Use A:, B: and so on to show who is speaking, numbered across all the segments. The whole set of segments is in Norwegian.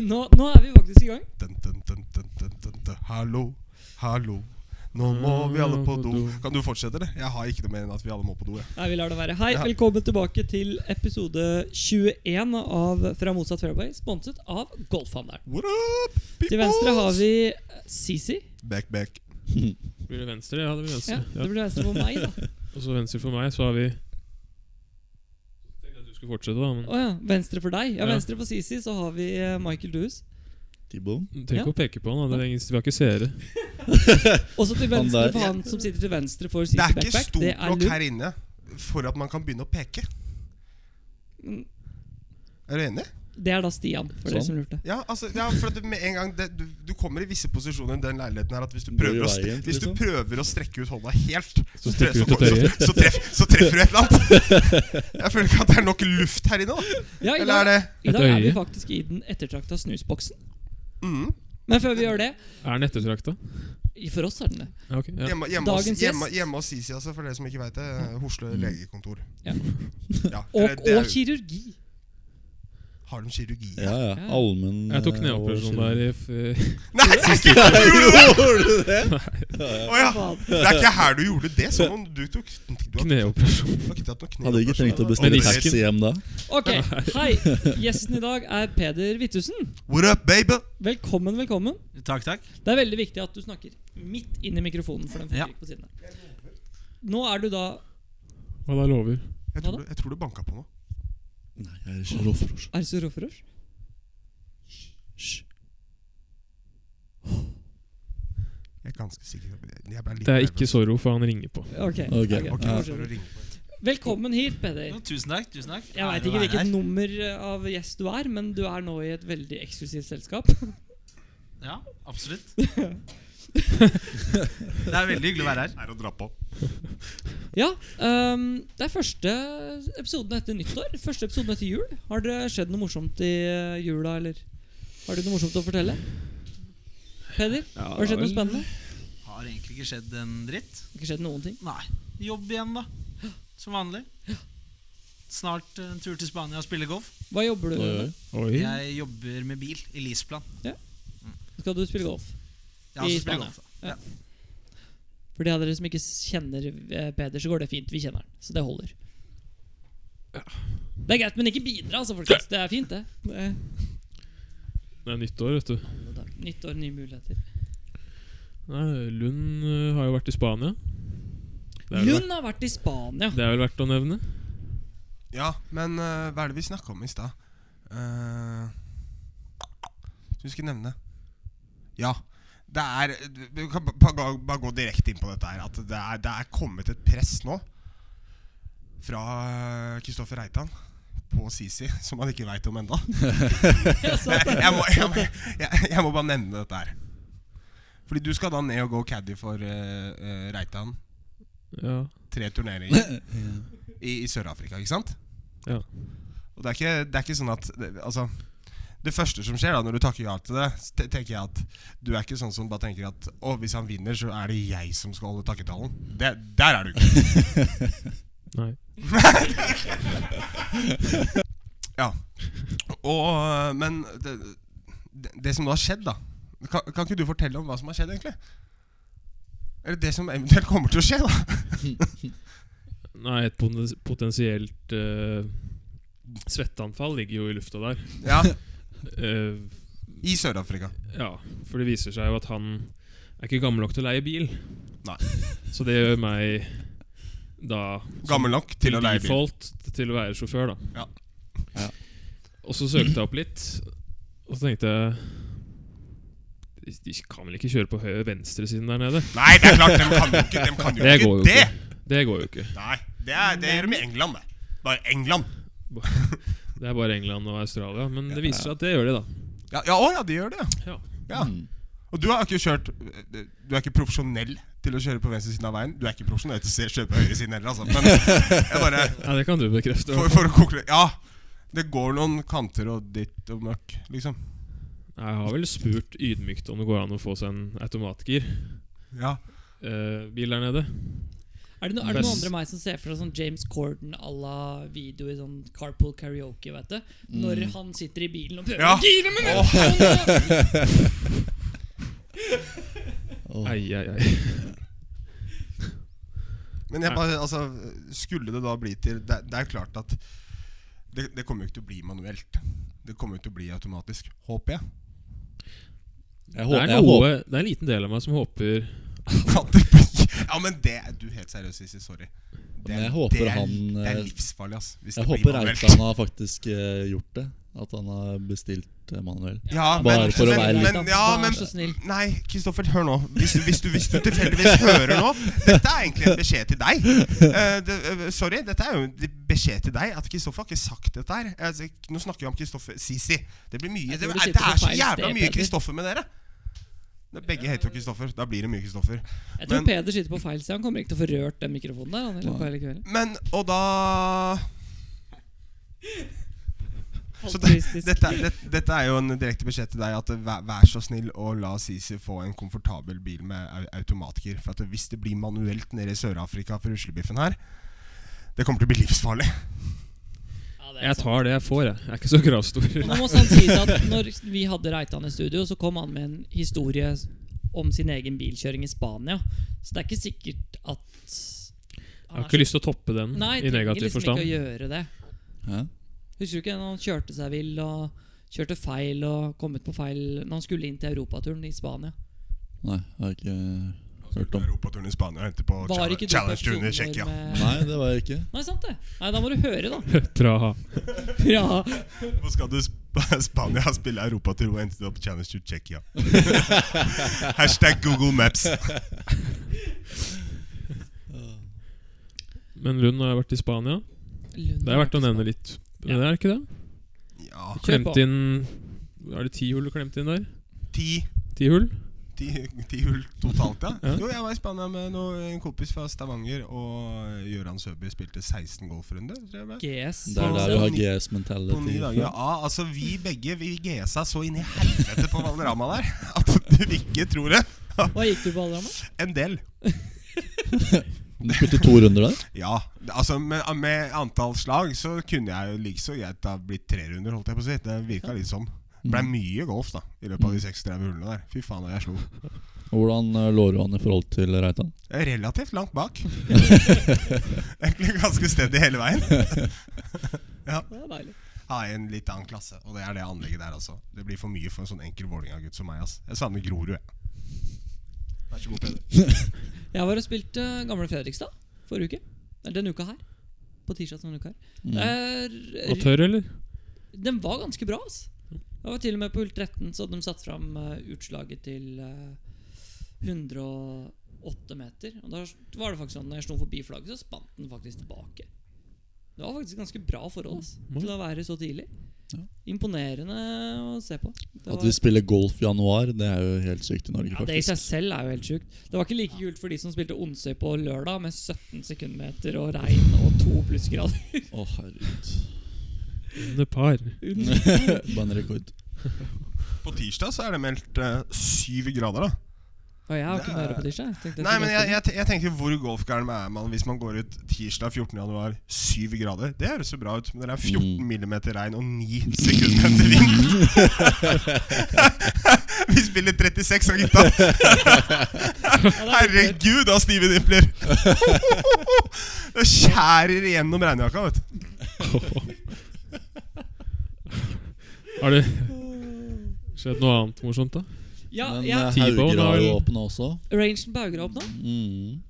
A: Nå, nå er vi faktisk i gang.
B: Dun, dun, dun, dun, dun, dun, dun. Hallo, hallo. Nå må vi alle på do. Kan du fortsette, eller? Jeg har ikke noe mer enn at vi alle må på do. Jeg.
A: Nei, vi lar det være. Hei,
B: Ja.
A: velkommen tilbake til episode 21 av Fra motsatt fairway, sponset av Golfhandelen.
B: What up,
A: Til venstre har vi eh, Sisi.
B: Back, back.
C: Blir det venstre? Ja, det blir
A: Ja,
C: venstre.
A: det
C: Ja,
A: blir venstre for meg, da.
C: Og så venstre for meg, så har vi Jeg tenkte at du skulle fortsette, da, men
A: Å ja, venstre for deg. Ja,
C: Ja.
A: venstre for Sisi så har vi eh, Michael Dues.
D: T-bone.
C: Tenk
A: Ja.
C: å peke på han, da. Det er ingen, vi har ikke seere.
A: Og så til
D: Han
A: venstre
D: der.
A: for han som sitter til venstre for Sisi
B: Det er ikke
A: Backpack. Det
B: stort
A: er
B: nok
A: Lund.
B: her inne for at man kan begynne å peke. Er du enig?
A: Det er da Stian, for dere
D: Sånn.
A: som lurte.
B: Ja, altså, ja for at du med en gang det, du, du kommer i visse posisjoner i den leiligheten her at hvis du
D: Går i
B: prøver, å, stre-
D: veien,
B: hvis du
D: liksom.
B: prøver å strekke ut hånda helt, så, tre, så,
C: stikker ut et
B: så,
C: øye.
B: så, treff, så treffer du et eller annet. Jeg føler ikke at det er nok luft her inne, da.
A: Ja, i
B: Eller er
A: dag,
B: det
A: i dag
C: Et
A: er vi
C: øye.
A: faktisk i den ettertrakta snusboksen.
B: mm,
A: Men før vi gjør det
C: Er han ettertrakta?
A: i- For oss er den det.
C: Ja, ok, ja.
B: hjemme, hjemme, hos,
A: Dagens gjest.
B: hjemme, hjemme hos Sisi, altså, for dere som ikke veit det. eh, Hosle legekontor.
A: Ja.
B: Ja,
A: Og,
B: eller det er-
A: og kirurgi.
B: har de kirurgi?
D: Ja, ja.
A: Ja.
D: Allmenn
C: Jeg tok
D: eh,
C: kneoperasjon
D: og-
C: der i f-
B: Nei,
D: Gjorde du det?
B: å ja. Det er ikke her du gjorde det. Sånn om du tok du har-
C: kneoperasjon.
B: du har ikke tatt noen kne-
D: Hadde ikke trengt å
B: Aldri.
D: bestille taxi hjem da.
A: Ok, hei. Gjesten i dag er Peder Wittusen.
B: What up, baby?
A: Velkommen, velkommen.
E: Takk, takk.
A: Det er veldig viktig at du snakker midt inn i mikrofonen. For den funker
E: Ja.
A: ikke på sidene Nå er du da
C: Hva da lover?
B: Jeg tror, du- jeg tror du banka på noe.
D: Nei, jeg er ikke råfrosj.
A: Er du så rå for oss?
D: Hysj.
B: Jeg er ganske sikker. på det. Jeg ble litt
C: Det er
B: nervøs.
C: ikke Zorro, for han ringer på.
A: Ok,
D: Ok.
A: ok.
B: Ok,
D: Ja.
B: nå skal du ringe på.
A: Velkommen hit, Peder.
E: Jo, tusen takk. tusen takk
A: Jeg veit
E: Ære å
A: ikke
E: være
A: hvilket
E: her.
A: nummer av gjest du er, men du er nå i et veldig eksklusivt selskap.
E: Ja, absolutt. det er veldig hyggelig å være her.
B: Er å dra på.
A: Ja, ehm, Det er første episoden etter nyttår. Første episoden etter jul. Har det skjedd noe morsomt i eh, jula, eller? Har du noe morsomt å fortelle? Peder,
C: Ja,
A: har det skjedd noe
C: vel.
A: spennende?
E: Har egentlig ikke skjedd en dritt.
A: Det har Ikke skjedd noen ting.
E: Nei. Jobb igjen, da. Som vanlig. Snart eh, en tur til Spania og spille golf.
A: Hva jobber du
D: Oi, oi.
A: med?
C: Oi.
E: Jeg jobber med bil i Lisplan.
A: Skal du spille golf?
E: Ja,
A: I
E: så
A: Spania.
E: spiller golf, da.
A: For de av dere som ikke s- kjenner eh, Peder, så går det fint. Vi kjenner han, så det holder. Det er greit, men ikke bidra, altså, folkens. Det er fint, det. det er,
C: Det er nyttår, vet du.
A: alle dager. Nytt år, nye muligheter.
C: Nei, Lund øh, har jo vært i Spania. Det er, vel,
A: Lund har vært i Spania.
C: det er vel verdt å nevne.
B: Ja, men eh, hva er det vi snakka om i stad? Eh, Som vi skulle nevne. Ja. Det er Vi kan ba- ba- bare, gå direkte inn på dette her. At det er, det er kommet et press nå fra Kristoffer Reitan på Sisi, som han ikke veit om ennå. jeg, jeg, må- jeg, må- jeg, jeg må bare nevne dette her. Fordi du skal da ned og gå caddy for eh, eh, Reitan.
C: Ja.
B: Tre turneringer i, i Sør-Afrika, ikke sant?
C: ja.
B: Og det er ikke, det er ikke sånn at det, Altså det første som skjer da når du takker ja til det, s- te- tenker jeg at du er ikke sånn som bare tenker at Å, hvis han vinner, så er det jeg som skal holde takketalen. Det, der er du ikke.
C: Nei.
B: Ja. Og, øh, men det, det, det som nå har skjedd, da kan, kan ikke du fortelle om hva som har skjedd, egentlig? Eller det som eventuelt kommer til å skje, da?
C: Nei, et poten- potensielt øh, svetteanfall ligger jo i lufta der.
B: Ja,
C: Eh,
B: I Sør-Afrika.
C: Ja, for det viser seg jo at han er ikke gammel nok til å leie bil.
B: Nei.
C: Så det gjør meg da
B: Gammel nok til å leie bil.
C: default til å være sjåfør, da.
B: Ja.
D: Ja.
C: Og så søkte jeg opp litt, og så tenkte jeg de, de kan vel ikke kjøre på høyre venstresiden der nede?
B: Nei, det er klart, dem kan jo ikke, dem kan jo
C: Det
B: ikke
C: går jo
B: det!
C: ikke. Det går jo ikke.
B: Nei, det, er, det gjør de i England, det. Bare England.
C: Det er bare England og Australia. Men det viser seg
D: Ja.
C: at det gjør de, da.
B: Ja, ja, å, ja de gjør det,
C: Ja.
B: ja. Og du har ikke kjørt Du er ikke profesjonell til å kjøre på venstresiden av veien. Du er ikke profesjonell til å se- kjøre på høyresiden heller, altså. Men jeg bare
C: Ja, det kan du bekrefte.
B: for, for å konkludere Ja, det går noen kanter og ditt og møkk, liksom.
C: Jeg har vel spurt ydmykt om det går an å få seg en automatgir.
B: Ja.
C: eh, bil der nede.
A: Er det, no, er det noen
C: Best.
A: andre enn meg som ser for seg sånn James Corden à la video i sånn Carpool Karaoke? vet du? Når han sitter i bilen og prøver
B: Mm. Ja.
A: å gire, men
B: Åh.
D: Åh.
C: Ei, ei, ei.
B: Men jeg bare, altså, skulle det da bli til Det, det er klart at det, det kommer jo ikke til å bli manuelt. Det kommer jo til å bli automatisk, håper jeg.
D: Jeg
C: Det er,
D: håper, jeg
C: noe,
D: håper
C: det er en liten del av meg som håper
B: At det blir, ja, men det Du, helt seriøst, Sissy. Sorry. Det,
D: Men jeg håper
B: det, er,
D: han,
B: det er
D: eh,
B: livsfarlig, ass. Hvis
D: Jeg
B: det
D: håper
B: blir manuelt.
D: Reitan har faktisk eh, gjort det. At han har bestilt eh, manuell.
B: Ja,
D: Bare
B: men,
D: for å
B: men,
D: være litt-
B: men, ja, men,
A: Vær så snill.
B: Nei, Kristoffer, hør nå. Hvis, hvis du, hvis du tilfeldigvis hører nå Dette er egentlig en beskjed til deg. Eh, det, eh, sorry, dette er jo en beskjed til deg. At Kristoffer har ikke sagt dette her. Altså, nå snakker vi om Kristoffer Sisi. Det blir mye
A: Jeg
B: Det,
A: tror
B: er-
A: du sitter
B: det
A: på
B: er så
A: feil
B: jævla
A: sted,
B: mye
A: Peter.
B: Kristoffer med dere. Det, begge heter jo Kristoffer. Da blir det mye Kristoffer.
A: Jeg tror
B: Men-
A: Peder sitter på feil side. Han kommer ikke til å få rørt den mikrofonen der. Han, i løpet av hele kvelden.
B: Men, og da Så det,
A: Altruistisk.
B: dette, er- det, dette er jo en direkte beskjed til deg. At vær, vær så snill og la Sisi få en komfortabel bil med au- automatgir. For at hvis det blir manuelt nede i Sør-Afrika for ruslebiffen her Det kommer til å bli livsfarlig.
A: Ja, det er
C: Jeg
A: sant.
C: tar det jeg får, jeg. Jeg er ikke så kravstor.
A: Og nå må sant sies at når vi hadde Reitan i studio, så kom han med en historie om sin egen bilkjøring i Spania. Så det er ikke sikkert at
C: Jeg har ikke lyst til å toppe den
A: Nei,
C: i
A: trenger
C: negativ
A: liksom
C: forstand.
A: ikke å gjøre det.
D: Hæ?
A: Husker du ikke når han kjørte seg vill og kjørte feil og kom ut på feil når han skulle inn til europaturen i Spania?
D: Nei, jeg har ikke hørt om.
B: Europaturen i Spania endte på
A: Var ikke du på
B: Challenge Turen i
A: episoden
B: Tsjekkia.
A: hvor med-
D: Nei, det var jeg ikke.
A: Nei, sant det. Nei, da må du høre, da.
C: Praha.
A: Ja.
B: Hvor skal du sp Spania spille europatur og endte opp Challenge Tour Tsjekkia? Hashtag Google Maps.
C: Men Lund har jeg vært i Spania.
A: Lund
C: Det er verdt å nevne litt. Men det er ikke det?
B: Ja
A: Kjør på.
C: Klemt inn Er det ti hull du klemte inn der?
B: Ti,
C: Ti hull?
B: ti, ti hull totalt, ja.
C: Ja.
B: Jo, jeg var i Spania med noe, en kompis fra Stavanger, og Gøran Søby spilte 16 golfrunder. tror jeg det var.
A: GS.
D: Det er der du har GS
B: På ni
D: mentality.
B: dager.
D: fra.
B: Ja, altså vi begge vi GSA så inn i helvete på Valderama der at du ikke tror det.
A: Hva gikk du på alderen med?
B: En del.
D: Du spilte to runder der?
B: Ja. altså Med, med antall slag så kunne jeg jo like så greit ha blitt tre runder, holdt jeg på å si. Det virka litt sånn. Det ble mye golf da i løpet av de 36 hullene der. Fy faen, da jeg slo.
D: Og Hvordan eh, lå du an i forhold til Reitan?
B: Jeg er Relativt langt bak. Egentlig ganske stedig hele veien. Ja,
A: Det er deilig.
B: Har en litt annen klasse, og det er det anlegget der altså. Det blir for mye for en sånn enkel Vålerenga-gutt som meg. ass Jeg savner Grorud, jeg. Vær så god, Peder.
A: Jeg var og spilte Gamle Fredrikstad forrige uke. Eller denne uka her. På tirsdag denne uka her.
D: Mm.
A: Det er-
C: Og tørr, eller?
A: Den var ganske bra, ass. Jeg var til og med på hull 13, så hadde de satt fram eh, utslaget til eh, 108 meter. Og da var det faktisk sånn når jeg slo forbi flagget, så spant den faktisk tilbake. Det var faktisk ganske bra forhold ass, til å være så tidlig.
D: Ja.
A: Imponerende å se på. Det
D: At
A: var-
D: vi spiller golf i januar, det er jo helt sykt i Norge,
A: ja, det i
D: faktisk.
A: seg selv er jo helt sjukt. Det var ikke like kult for de som spilte Onsøy på lørdag med 17 sekundmeter og regn og to plussgrader.
D: Å, herregud.
C: Under par.
D: Bare en rekord.
B: På tirsdag så er det meldt eh, syv grader, da.
A: Og jeg har ikke noe å gjøre på
B: Det er-
A: tirsdag. tenkte skulle
B: Nei, men
A: bare
B: jeg, jeg, te- jeg tenker hvor golfgæren er man hvis man går ut tirsdag 14. januar, syv grader. Det høres jo bra ut, men det er 14
D: Mm.
B: millimeter regn og 9 sekundmeter vind. Vi spiller 36 av gutta!
A: spille. Ja, det er litt
B: Herregud, da stive nippler! Det skjærer igjennom regnjakka, vet du.
C: Har det skjedd noe annet morsomt, da?
A: mer. Ja,
D: Men
A: ja.
D: eh,
C: T-bone
D: Hauger
C: har
D: har jo
C: vel-
D: åpna også.
A: Rangen bauger opp nå,
D: Mm.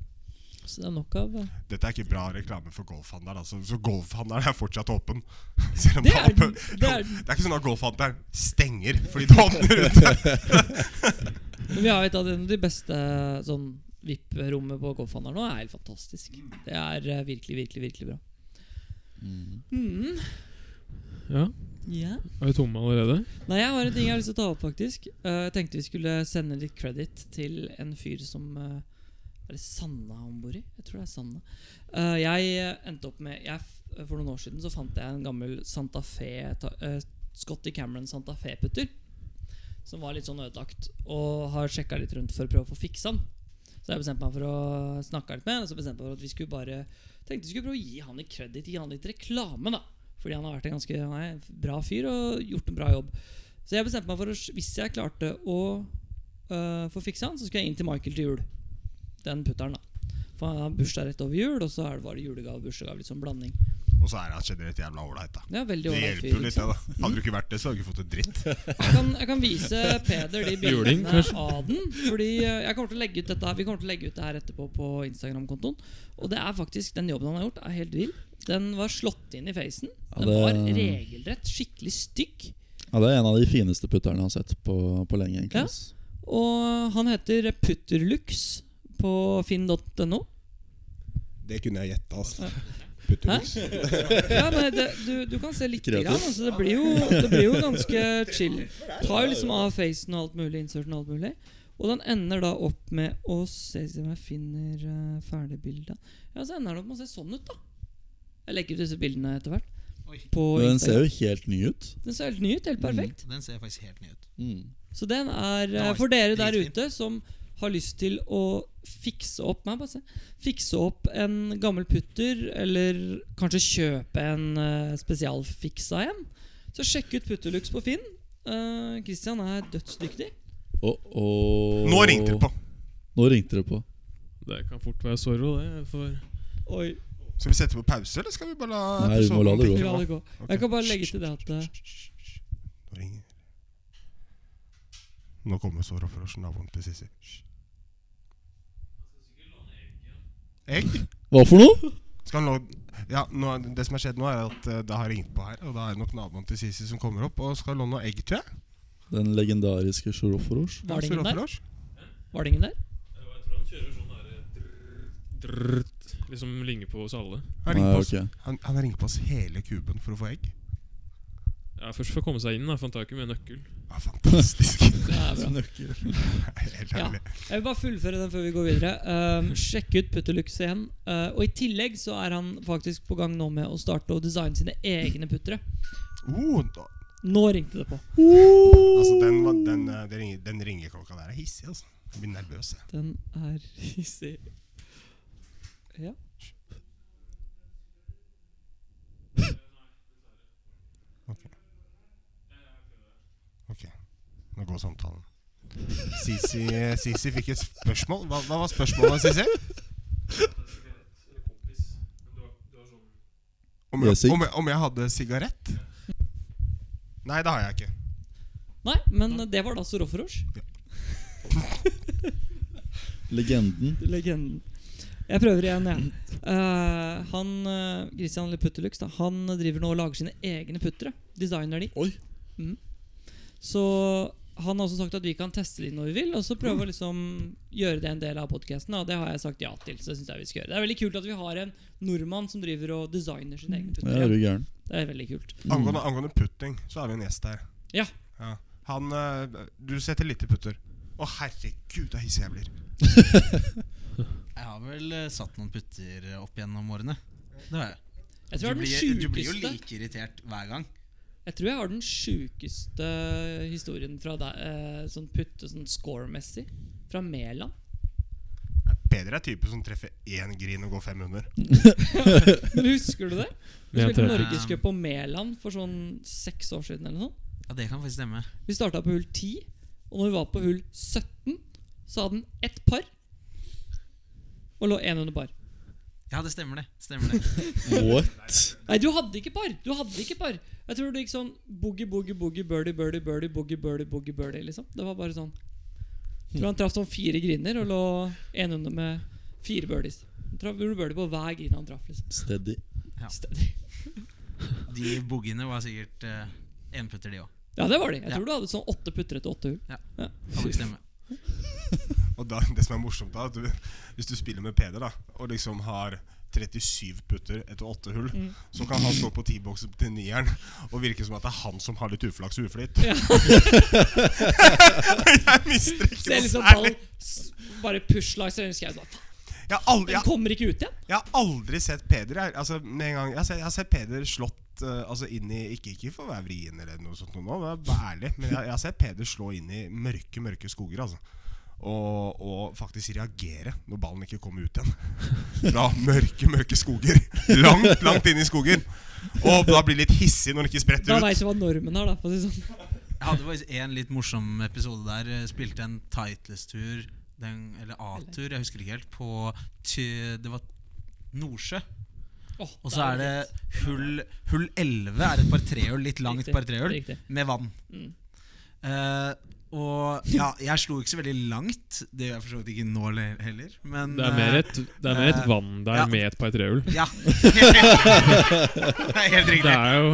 A: så det er nok av eh,
B: Dette er ikke bra reklame for golfhandleren, altså. Så golfhandleren er fortsatt åpen. Selv om
A: Det er den.
B: åpen.
A: Det er den.
B: Det er ikke sånn at golfhandleren stenger fordi det åpner ute.
A: Men vi har et av de- de beste sånn VIP-rommet på golfhandelen nå. Det er helt fantastisk. Det er eh, virkelig, virkelig, virkelig bra. Mm.
C: Ja?
A: Ja.
C: Er vi tomme allerede?
A: Nei, jeg har en ting jeg har lyst til å ta opp, faktisk. Eh, Jeg tenkte vi skulle sende litt credit til en fyr som eh, Er det Sanna han bor i? Jeg tror det er Sanna. Eh, jeg endte opp med jeg, f- eh, For noen år siden så fant jeg en gammel Santa Fe ta, eh, Scotty Cameron Santa Fe-putter. Som var litt sånn ødelagt. Og har sjekka litt rundt for å prøve å få fiksa den. Så jeg bestemte meg for å snakke litt med han, Og så bestemte jeg meg for at vi skulle bare Tenkte vi skulle prøve å gi han litt kreditt, gi han litt reklame, da. Fordi han har vært en ganske han er en bra fyr og gjort en bra jobb. Så jeg bestemte meg for å Hvis jeg klarte å øh, få fiksa han, så skulle jeg inn til Michael til jul. Den putteren, da. For han har bursdag rett over jul, og så er det bare julegave og bursdagsgave. Litt sånn blanding.
B: Og så er han generelt jævla ålreit, da.
A: Det er veldig
B: Det
A: ålreit
B: hjelper jo
A: fyr. liksom.
B: litt, det, da. Hadde du ikke vært det, så hadde du ikke fått en dritt.
A: Jeg kan, jeg kan vise Peder de
C: Juling,
A: bildene
C: kanskje?
A: av den. Fordi eh, jeg kommer til å legge ut dette her Vi kommer til å legge ut det her etterpå på Instagram-kontoen. Og det er faktisk den jobben han har gjort, er helt vill. Den var slått inn i facen.
D: Ja,
A: Den var
D: det-
A: regelrett skikkelig stygg.
D: Ja, Det er en av de fineste putterne jeg har sett på, på lenge. egentlig
A: Ja.
D: ass.
A: Og han heter Putterlux på finn.no.
F: Det kunne jeg gjette, altså.
A: Ja.
F: Putterbuks.
A: Ja, men det, du, du kan se litt
D: Kreativt.
A: grann. Altså, det, blir jo, det blir jo ganske chill. Tar jo liksom av facen og alt mulig, inserten og alt mulig. Og den ender da opp med å se se om jeg finner uh, ferdig bildet. Ja, så ender den opp med å se sånn ut, da. Jeg legger ut disse bildene etter hvert.
E: Oi.
A: På
D: Men den ser
A: Instagram.
D: jo helt ny ut.
A: Den ser helt ny ut. Helt perfekt.
E: Den ser faktisk helt ny ut.
D: Mm.
A: Så den er eh,
E: var
A: for dere der
E: dritfin.
A: ute som har lyst til å fikse opp Nei, bare se. Fikse opp en gammel putter, eller kanskje kjøpe en eh, spesialfiksa en. Så sjekk ut Putterlux på Finn. Eh, Christian er dødsdyktig.
D: Og, og
B: Nå ringte det på.
D: Nå ringte det på.
C: Det kan fort være sorro, det. For
A: Oi,
B: Skal vi sette på pause, eller skal vi bare la
D: Nei, vi må la det gå.
A: vi la det gå.
B: Ok.
A: Jeg kan bare legge til det at eh,
B: Nå ringer Nå kommer Sora for oss, naboen til Sissy. Hysj. Egg?
D: Hva for noe?
B: Skal han låne Ja, nå, er- det som har skjedd nå, er at eh, det har ringt på her. Og da er det nok naboen til Sissy som kommer opp og skal låne noe egg, tror jeg.
D: Den legendariske Sjoroforosh.
A: Var det ingen
B: Sora
A: der?
B: for oss.
A: Var det ingen der?
C: Jeg tror han kjører sånn derre Liksom ligner på oss alle.
B: Han ringer på oss.
D: ok.
B: Han, han har ringt på oss hele kuben for å få egg.
C: Ja, Først for å komme seg inn, da, for han tar ikke med nøkkel.
B: Ja, fantastisk.
A: Det er bra.
B: Helt
A: Ja.
B: ærlig.
A: Jeg vil bare fullføre den før vi går videre. Um, sjekk ut Putterlux igjen. Uh, og i tillegg så er han faktisk på gang nå med å starte å designe sine egne puttere.
B: Oh, da,
A: Nå ringte det på.
B: altså, den, var- den, eh, den, ringer, den ringeklokka der er hissig, altså. Jeg blir nervøs, jeg.
A: Den er hissig. Ja.
B: Ok, nå går samtalen. Sisi, Sisi fikk et spørsmål. Hva, hva var spørsmålet, Sisi? Om jeg,
D: Jessing.
B: om, jeg, om jeg hadde sigarett? Nei, det har jeg ikke.
A: Nei, men det var da Soroforosh.
D: Legenden.
A: Legenden. Jeg prøver igjen, jeg. Uh, han uh, Christian eller Putterlux, da, han driver nå og lager sine egne puttere. Designer de.
D: Oi.
A: Mm. Så han har også sagt at vi kan teste de når vi vil, og så prøve å liksom gjøre det en del av podkasten. Og det har jeg sagt ja til. Så Det synes jeg vi skal gjøre Det er veldig kult at vi har en nordmann som driver og designer sine egne
D: Ja, er
A: puttere.
D: du gæren?
A: Det er veldig kult.
B: Angående, angående putting, så har vi en gjest her.
A: Ja.
B: Han eh, Du setter lite putter. Å, herregud, det er hissig jeg blir.
E: Jeg har vel eh, satt noen putter opp gjennom årene. Det har jeg.
A: Jeg tror jeg
E: du,
A: har den
E: blir, du blir jo
A: sjukeste
E: like irritert hver gang.
A: Jeg tror jeg har den sjukeste historien fra deg, eh, sånn putte sånn score-messig, fra Mæland.
B: Peder er typen som treffer én grin og går 500.
A: Men Husker du det? Vi
C: Ja,
A: spilte
C: treffer.
A: Norgescup på Mæland for sånn seks år siden. eller noe sånt.
E: Ja, Det kan faktisk stemme.
A: Vi starta på hull 10, og når vi var på hull 17, så hadde den ett par og lå én under par.
E: Ja, det stemmer det. Stemmer det.
D: What?
A: Nei, du hadde ikke par! Du hadde ikke par Jeg tror det gikk sånn boogie, boogie, boogie, birdie, birdie, birdie, boogie, birdie, boogie, birdie. liksom Det var bare sånn. Jeg tror han traff sånn fire griner og lå én under med fire birdies. Han traff gjorde birdie på hver grin han traff. liksom
D: Steady.
A: Steady.
E: De boogiene var sikkert eh, enputter, de òg.
A: Ja, det var de. Jeg
E: Ja.
A: tror du hadde sånn åtte puttere til åtte hull.
E: Kan nok stemme.
B: Og da, det som er morsomt da at du, Hvis du spiller med Peder da og liksom har 37 putter etter åtte hull,
A: Mm.
B: så kan han stå på T-boksen til nieren og virke som at det er han som har litt uflaks og uflyt.
A: Ja.
B: jeg mister ikke
A: Ser
B: noe
A: liksom
B: særlig.
A: ballen s- bare push-slicer inn i skauen. bare, faen,
B: Jeg har, aldri,
A: Den
B: jeg,
A: kommer ikke ut igjen!
B: jeg har aldri sett Peder jeg, altså, med en gang, jeg, har sett, jeg har sett Peder slått eh, altså, inn i Ikke, ikke for å være vrien, eller noe sånt, noe, nå, men jeg er ærlig, men jeg, jeg har sett Peder slå inn i mørke, mørke skoger. Altså. Og, og faktisk reagere når ballen ikke kommer ut igjen. Fra mørke, mørke skoger. Langt, langt inn i skogen. Og da blir det litt hissig når den
A: Da
B: ikke spretter ut.
A: veit du hva normen er, da. For å si det sånn.
E: Jeg hadde faktisk en litt morsom episode der. Jeg Spilte en Titles-tur, den- eller A-tur, jeg husker ikke helt, på ty, Det var Nordsjø.
A: Åh,
E: Og så
A: da
E: er det
A: greit.
E: hull, hull 11 er et par trehull, litt langt
A: Riktig,
E: par trehull,
A: riktig.
E: med vann.
A: Mm.
E: Eh, og ja, jeg slo ikke så veldig langt. Det gjør jeg for så vidt ikke nå le- heller. Men
C: Det er mer
E: eh,
C: et, det er mer et
E: eh,
C: vann der
E: ja.
C: med et par trehull.
E: Ja. det er helt
C: Det
E: riktig.
C: er jo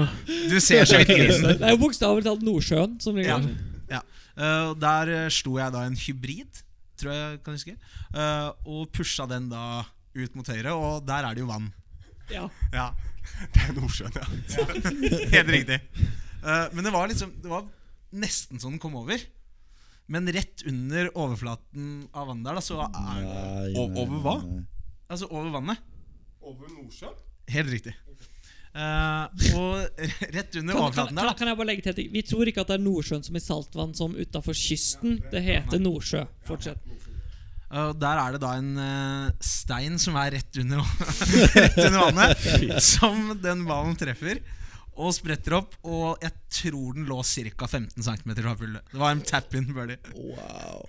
E: Du ser så vidt grisen.
A: Det er jo bokstavelig talt Nordsjøen som ligger
E: Ja.
A: der.
E: Ja. Eh, og der eh, slo jeg da en hybrid, tror jeg kan huske, eh, og pusha den da ut mot høyre, og der er det jo vann.
A: Ja.
E: Ja,
B: Det er Nordsjøen, ja.
E: Helt riktig. Eh, men det var liksom Det var nesten så den kom over. Men rett under overflaten av vannet der, da, så er det
D: Nei,
B: O-
D: nei,
B: over
D: nei,
B: hva?
D: nei.
E: Altså over vannet.
B: Over Nordsjøen?
E: Helt riktig. Eh, og rett under
A: Kan, kan,
E: overflaten der,
A: kan,
E: da.
A: kan jeg bare legge til at Vi tror ikke at det er Nordsjøen som i saltvann som utafor kysten. Det heter Nordsjø. Fortsett.
E: eh, og der er det da en eh, stein som er rett under, rett under vannet, som den ballen treffer. Og spretter opp, og jeg tror den lå ca. 15 cm fra pullet. Det var en tap-in birdie.
D: Wow.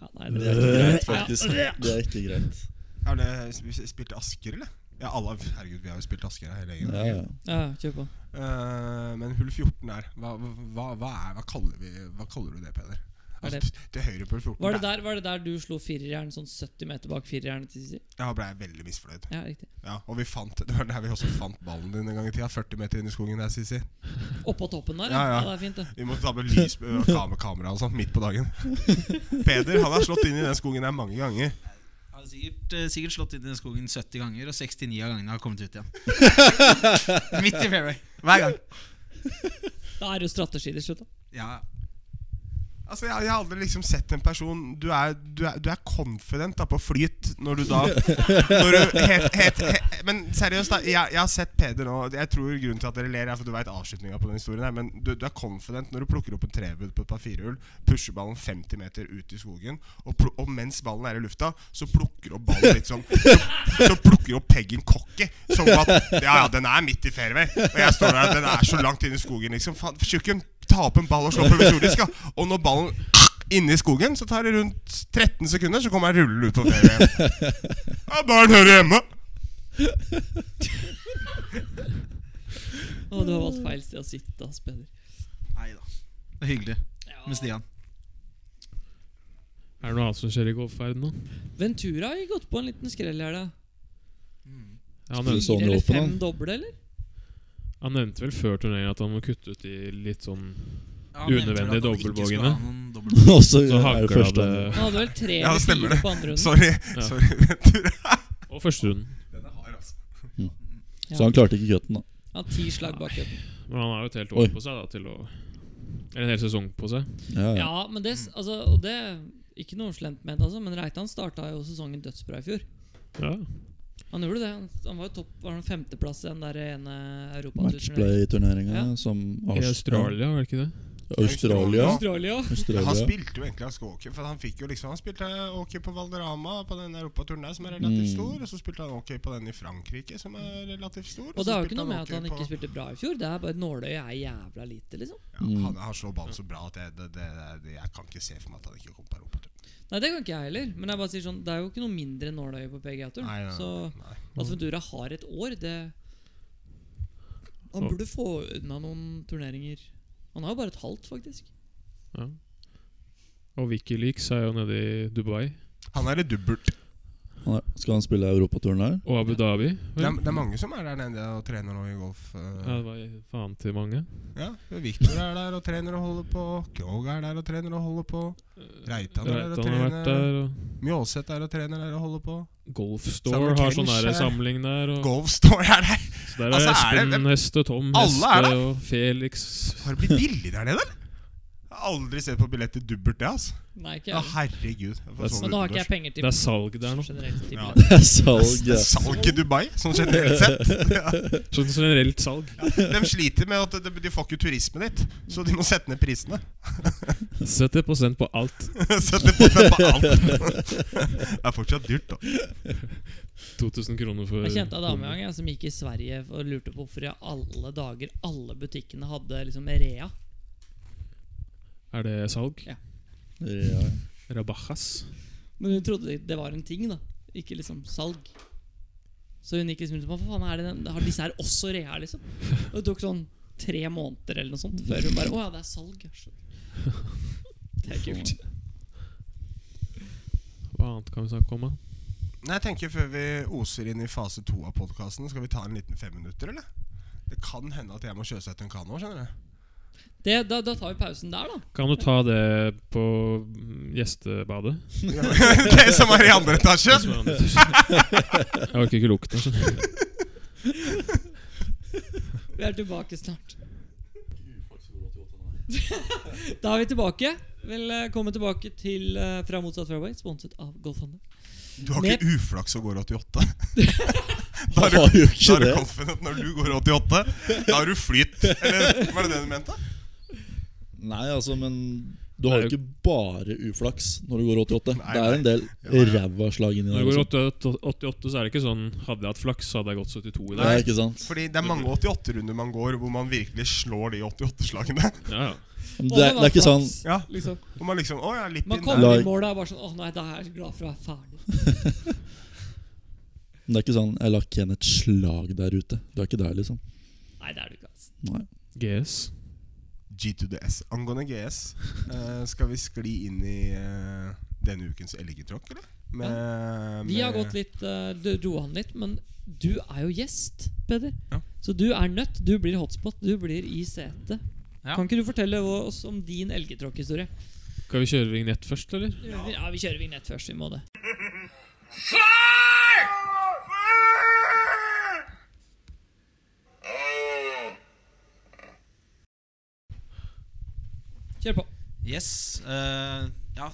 A: Ja, nei, det
D: Det
A: er
D: er ikke
B: Øh.
D: greit,
A: Ja.
D: faktisk. Det er ikke greit.
B: Er det sp- spilt i Asker, eller? Ja, alle, herregud, vi har jo spilt Asker her hele gjengen.
D: Ja, ja.
A: ja, kjør på.
B: Eh, men hull 14 der, hva, hva, hva, er, hva, kaller, vi, hva kaller du det, Peder?
A: Er
B: Altså,
A: det-
B: t- til høyre på hull 14
A: Var det der, var det der du slo firerjern sånn 70 meter bak firerjernet til Sisi?
B: Ja, ble jeg veldig misfornøyd.
A: Ja, riktig.
B: Ja, og vi fant Det var der vi også fant ballen din en gang i tida. 40 meter inn i skogen der, Sisi.
A: Oppå toppen der?
B: Ja,
A: det
B: ja.
A: er fint, det.
B: Vi måtte ta med lys og kam- kamera og sånn midt på dagen. Peder han har slått inn i den skogen der mange ganger.
E: Jeg har sikkert, eh, sikkert slått inn i den skogen 70 ganger, og 69 av gangene har kommet ut igjen. Midt i fairway. Hver gang.
A: Da er det jo strategi til slutt, da.
E: Ja,
B: Altså, jeg, jeg har aldri liksom sett en person Du er, du er, du er confident da, på flyt når du da når du het, het, he- Men seriøst, da. Jeg, jeg har sett Peder nå og Jeg tror grunnen til at dere ler, er for at du veit avslutninga på den historien. her Men du, du er confident når du plukker opp en trebud på et par firehull, pusher ballen 50 meter ut i skogen, og, plu- og mens ballen er i lufta, så plukker du opp ballen litt sånn Så plukker du opp peggen cocky. Som at Ja, ja, den er midt i fairway. Og jeg står der, den er så langt inne i skogen, liksom. Faen, Tjukken, ta opp en ball og slå provisorisk, ja. Og når ballen Inne i skogen så tar det rundt 13 sekunder, så kommer jeg rullende ut på ferie. Ja, barn hører hjemme.
A: Å, du har valgt feil sted å sitte, ass, Peder.
E: Nei da. Det er hyggelig med Stian.
C: Er det noe annet som skjer i golfverdenen nå?
A: Ventura har gått på en liten skrell i helga.
C: Ja, Han
D: Fy.
C: nevnte,
A: Fire
D: Sony
A: eller
D: Open, da.
A: fem doble, eller?
C: han nevnte vel før turneringen at han må kutte ut de litt sånn
E: Ja, han nevnte vel at han
C: Unødvendige
E: ikke skulle
C: dobbeltbogene.
E: ha noen dobbeltbogene.
D: Og så
C: Så
D: er det
C: hagler
D: første
C: det
A: Han hadde vel tre
B: Ja, det
A: eller
B: stemmer
A: fire på andre runden.
B: Sorry.
C: Ja.
B: Sorry, Ventura.
C: Og førsterunden.
A: Ja.
D: Så han klarte ikke cutten, da.
A: Han har ti slag bak et.
C: Men han har jo et helt
D: Oi.
C: år på seg da til å Eller en hel sesong på seg.
D: Ja, ja.
A: Ja, men det, s- altså, og det Ikke noe slemt med det, altså, men Reitan starta jo sesongen dødsbra i fjor.
C: Ja.
A: Han gjorde det. Han, han var jo topp Var han femteplass i den der ene europaturneringen?
D: Matchplay-turneringa
A: Ja.
D: som
C: I Australia, var det ikke det?
D: Australia.
A: Australia.
D: Australia.
B: Han spilte jo egentlig ganske ok, for han fikk jo liksom Han spilte ok på Valderama på den europaturen der, som er relativt
D: Mm.
B: stor, og så spilte han ok på den i Frankrike, som er relativt stor.
A: Og
B: så
A: det har jo ikke
B: spilte
A: noe med
B: ok
A: at han
B: på-
A: ikke spilte bra i fjor. Det er bare at nåløyet er jævla lite, liksom.
B: ja,
C: Mm.
B: han, han slår ballen så bra at jeg, det, det, det, jeg kan ikke se for meg at han ikke kom på europaturen.
A: Nei, det kan ikke jeg heller. Men jeg bare sier sånn, det er jo ikke noe mindre nåløye på
B: Nei, nei,
A: PGA-turen. Så
B: nei, nei.
A: at Ventura har et år, det Han
C: Så-
A: burde få unna noen turneringer. Han har jo bare et halvt, faktisk.
C: ja. Og Wikileaks er jo nede i Dubai.
B: Han er i dubbelt.
D: Han er- Skal han spille europaturen der?
C: Og Abu Dhabi.
B: Det
C: vel?
B: er, det er mange som er der nede og trener nå i golf. eh.
C: Ja, det var faen til mange.
B: Ja, Victor er der og trener og holder på. Krog er der og trener og holder på. Reitan er der og
C: Reitan har
B: trener.
C: vært der. Og
B: Mjåseth er og trener der og holder på.
C: Golfstore
B: Summer
C: har
B: Cage
C: sånn der
B: er-
C: samling der. Og
B: Golfstore er der!
C: så der er
B: altså, er det-
C: Espen Heste, Tom
B: Alle er
C: Heste
B: der.
C: og Felix
B: Har det blitt billig der nede, eller? aldri sett på billetter dubbelt, det, altså.
A: Nei, ikke
B: Ja,
A: jeg.
B: herregud. Jeg får
C: Det
B: sove
C: er sant.
B: utendørs.
A: Men nå har ikke jeg penger
C: Det
A: til
C: er salg der nå.
A: generelt. til
B: Ja.
A: billetter.
C: Oh,
D: Salg. ja.
B: Salg i Dubai, sånn generelt sett. Ja.
C: Sånn generelt salg.
B: De sliter med at de, de får ikke turismen ditt, så de må sette ned prisene.
C: 70 på alt.
B: Sette på seg på alt. Det er fortsatt dyrt, da.
C: 2000 kroner for
A: Jeg kjente ei dame en gang jeg, som gikk i Sverige og lurte på hvorfor i alle dager alle butikkene hadde liksom Rea.
C: Er det salg?
D: Ja.
C: Rabajas.
A: Men hun trodde det- det var en ting, da. Ikke liksom salg. Så hun gikk liksom ut og Hva faen er det den? Har disse her også Rea, liksom? Og det tok sånn tre måneder eller noe sånt før hun bare Å ja, det er salg. ja, skjønner». Det er kult.
C: Hva annet kan vi snakke om? da?
B: Nei, jeg tenker Før vi oser inn i fase to av podkasten, skal vi ta en liten femminutter, eller? Det kan hende at jeg må sjøsette en kano. skjønner du?
A: Det, da, da tar vi pausen der, da.
C: Kan du ta det på mm, gjestebadet?
B: Det som er i andre etasje!
C: Jeg orker ikke lukten. altså.
A: Vi er tilbake snart. Da er vi tilbake. Velkommen tilbake til eh, Fra motsatt fairway, sponset av Golfhandel.
B: Du har ikke uflaks og går 88. Da
D: Han
B: er du,
D: har jo
B: da
D: ikke
B: er du
D: det.
B: confident når du går 88. Da har du flyt. Eller var det det du mente?
D: Nei, altså, men du har jo
C: Nei.
D: ikke bare uflaks når du går 88.
B: Nei,
D: Det er en
B: Ja,
D: del
B: ja.
D: ræva slag inni
C: Når
D: der. altså.
B: altså.
C: det går 88,
D: også.
C: 88, så er det ikke sånn Hadde jeg hatt flaks, så hadde jeg gått 72 i
D: Nei,
C: dag.
D: ikke sant?
B: Fordi det er mange 88-runder man går hvor man virkelig slår de 88-slagene.
C: Ja, ja.
D: Men Det, er- det er ikke sånn
B: Ja,
A: Liksom.
B: Og man liksom Å ja, litt
A: Man
B: inn der.
A: kommer
D: Lag-
A: i mål og er bare sånn Å nei, da er jeg glad for å være ferdig.
D: Det er ikke sånn Jeg la ikke igjen et slag der ute. Du er ikke der, liksom.
A: Nei, det er du ikke, altså.
D: Nei.
C: GS.
B: G to the S. Angående GS, eh, skal vi skli inn i eh, denne ukens elgetråkk, eller? Med,
A: Vi har
B: med-
A: gått litt eh, Du roa han litt, men du er jo gjest, Peder.
B: Ja.
A: Så du er nødt. Du blir hotspot. Du blir i setet.
E: Ja.
A: Kan ikke du fortelle oss om din elgetråkkhistorie?
C: Skal vi kjøre vignett først, eller?
A: Ja. vi kjører vignett først. Vi må det. Kjør på.
E: Yes. eh, ja,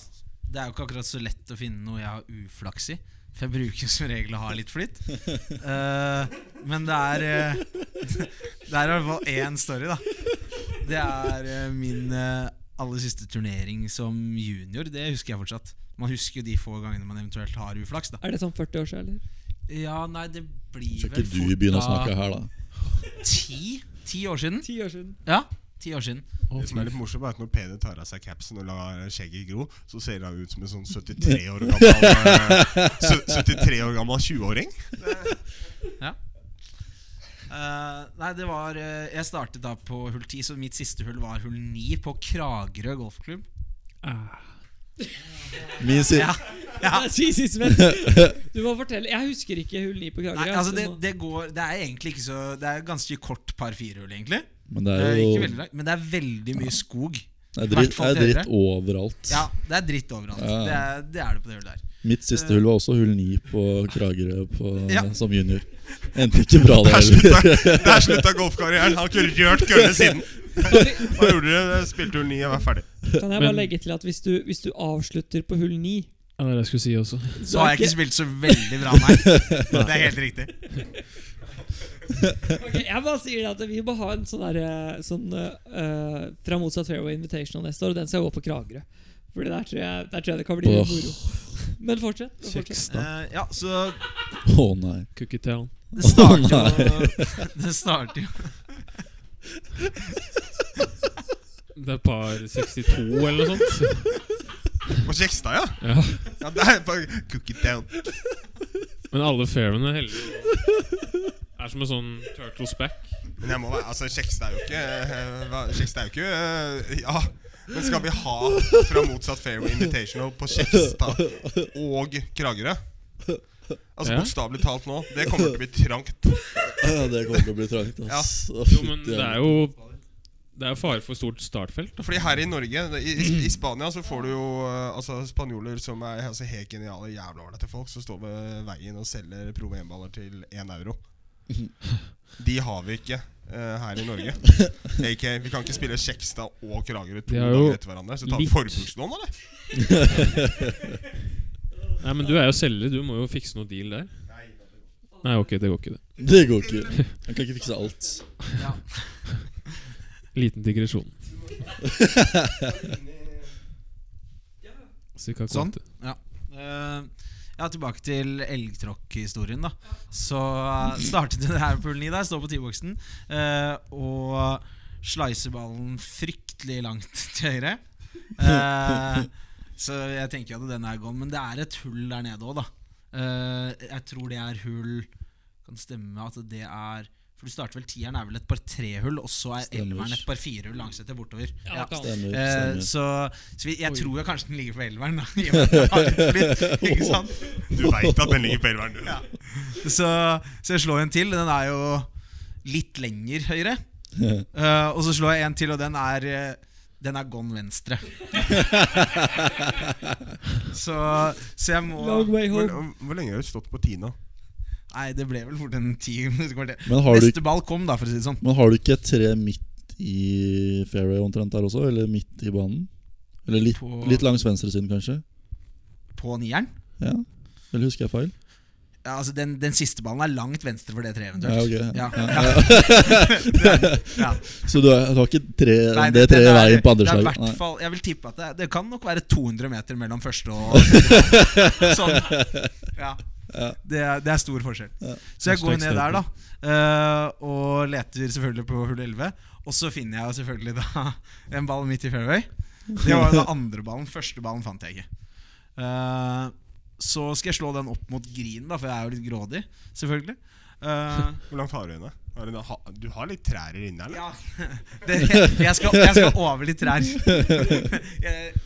E: det er jo ikke akkurat så lett å finne noe jeg har uflaks i. For jeg bruker som regel å ha litt flyt. Eh, men det er eh, Det er i hvert fall én story, da. Det er eh, min eh, aller siste turnering som junior. Det husker jeg fortsatt. Man husker jo de få gangene man eventuelt har uflaks. da
A: Er det sånn 40 år siden, eller?
E: Ja, nei, det blir
D: Så ikke
E: vel
D: du
E: fort
D: begynner å
E: da
D: snakke her, da.
E: Ti? Ti år siden?
A: Ti år siden.
E: Ja, ti år siden.
B: Det som er litt morsomt, er at når Peder tar av seg capsen og lar skjegget gro, så ser han ut som en sånn 73 år gammel eh, sø- 73 år gammel 20-åring.
E: Eh, nei, det var eh, Jeg startet da på hull 10, så mitt siste hull var hull 9 på Kragerø golfklubb.
D: Min si
E: Ja.
A: Nei, si sist, vent. Du må fortelle. Jeg husker ikke hull 9 på Kragerø.
E: Nei,
A: altså,
E: altså det,
A: du må-
E: det går Det er egentlig ikke så Det er ganske kort par firehull, egentlig.
D: Men det
E: Det
D: er
E: er
D: jo
E: ikke veldig langt, men det er veldig mye skog.
D: Det er
E: hvert
D: dritt,
E: fall
D: det er dritt
E: dere.
D: overalt.
E: Ja, det er dritt overalt.
D: Ja.
E: Det, er, det er det på det hullet der.
D: Mitt siste hull var også hull 9 på Kragerø på,
E: Eh. Ja.
D: som junior. Endte ikke bra, det
B: Der
D: heller.
B: slutta, der slutta golfkarrieren. Har ikke rørt kølle siden. Hva gjorde dere? Spilte hull 9 og var ferdig.
A: Kan jeg bare
C: Men-
A: legge til at hvis du, hvis du avslutter på hull 9
C: Ja, Ah, det er det jeg skulle si også.
E: Så har jeg ikke spilt så veldig bra, nei. Det er helt riktig.
A: Ok, Jeg bare sier at vi må ha en sånn der, eh, sånn, eh, Fra motsatt fairway invitational neste år, og den skal gå på Kragerø. For der tror jeg, der tror jeg det kan bli
D: Åh.
A: moro. Men fortsett. men fortsett.
C: Kjekstad.
E: Eh, ja, så
D: Å nei.
C: Cookietown.
E: Det starter
D: Å,
E: jo Det starter jo
C: Det er par 62 eller noe sånt.
B: På Kjekstad, ja.
C: Ja.
B: ja der, på cook it down.
C: Men alle fairene er heldige. Er som en sånn turtles back.
B: Men jeg må være Altså, Kjekstad er jo ikke eh, hva- Kjekstad er jo ikke eh, Ja. Men skal vi ha fra motsatt Fairway Invitational på Kjekstad og Kragerø? Altså
C: Ja.
B: Bokstavelig talt nå. Det kommer til å bli trangt.
D: Ja, det kommer til å bli trangt. ass. Å,
C: Jo, men
D: fytti
C: det er
D: jævlig.
C: jo Det er jo fare for stort startfelt.
B: Fordi her i Norge, i,
C: Mm.
B: i- i Spania, så får du jo eh, altså, spanjoler som er altså, helt geniale jævla ålreite folk, som står ved veien og selger Pro VM-baller til én euro. De har vi ikke eh, her i Norge. AK, vi kan ikke spille Kjekstad og Kragerø to
C: Det er jo
B: dager etter hverandre. Så ta
C: litt-
B: forbrukslån, eller?
C: Nei, men du er jo selger. Du må jo fikse noe deal der. Nei, ok, det går ikke, det.
D: Det går ikke. Han kan ikke fikse alt.
E: Ja.
C: Liten digresjon. Så vi kan
E: Sånn.
C: gå til-
E: Eh, ja, tilbake til elgtråkk-historien, da. Så eh, startet det her på hull 9 der, står på T-boksen eh, og slicer ballen fryktelig langt til høyre. Eh, så jeg tenker jo at den er gone, men det er et hull der nede òg, da. Eh, jeg tror det er hull Kan stemme at det er For du starter vel tieren, er vel et par tre-hull, og så er
D: Stemmer.
E: elveren et par fire-hull langsetter bortover.
A: Ja,
E: Ja.
A: det kan.
D: Stemmer.
E: Eh,
D: stemmer.
E: så så vi, jeg
C: Oi.
E: tror jo kanskje den ligger på elveren, da. I og med at jeg har litt flyt, ikke sant?
B: Du veit at den ligger på elveren, du.
E: Så, så jeg slår en til. Den er jo litt lenger høyre. Eh, og så slår jeg en til, og den er eh, Den er gone venstre. så, så jeg må
A: Long way
B: Hvor,
A: home.
B: hvor lenge har du stått på Tina?
E: Nei, det ble vel fort en ti minutter kvarter.
D: Men har, du,
E: Eh, Neste ball kom, da, for å si det sånn.
D: men har du ikke et tre midt i fairway omtrent der også? Eller midt i banen? Eller litt,
E: På-
D: litt langs venstresiden, kanskje?
E: På nieren.
D: Ja? Eller husker jeg feil?
E: Ja, altså den, den siste ballen er langt venstre for det treet,
D: Ja,
E: eventuelt.
D: ok.
E: Ja, ja.
D: Så du har, du har ikke tre,
E: Nei,
D: det treet i
E: er-
D: veien på andre
E: det er i
D: slaget?
E: hvert
D: Nei.
E: fall- Jeg vil tippe at det, det kan nok være 200 meter mellom første og Sånn. Ja. Det, er- det er stor forskjell. Så
C: Første
E: jeg går ned der,
C: eksempel.
E: da. eh, og leter selvfølgelig på hull 11. Og så finner jeg jo selvfølgelig da en ball midt i fairway. Det var jo den andre ballen. Første ballen fant jeg ikke. Eh, så skal jeg slå den opp mot green, da, for jeg er jo litt grådig, selvfølgelig. Eh,
B: Hvor langt har du henne? Har du, ha- du har litt trær her inne, eller?
E: ja. Det, jeg, skal, jeg skal over litt trær. Jeg,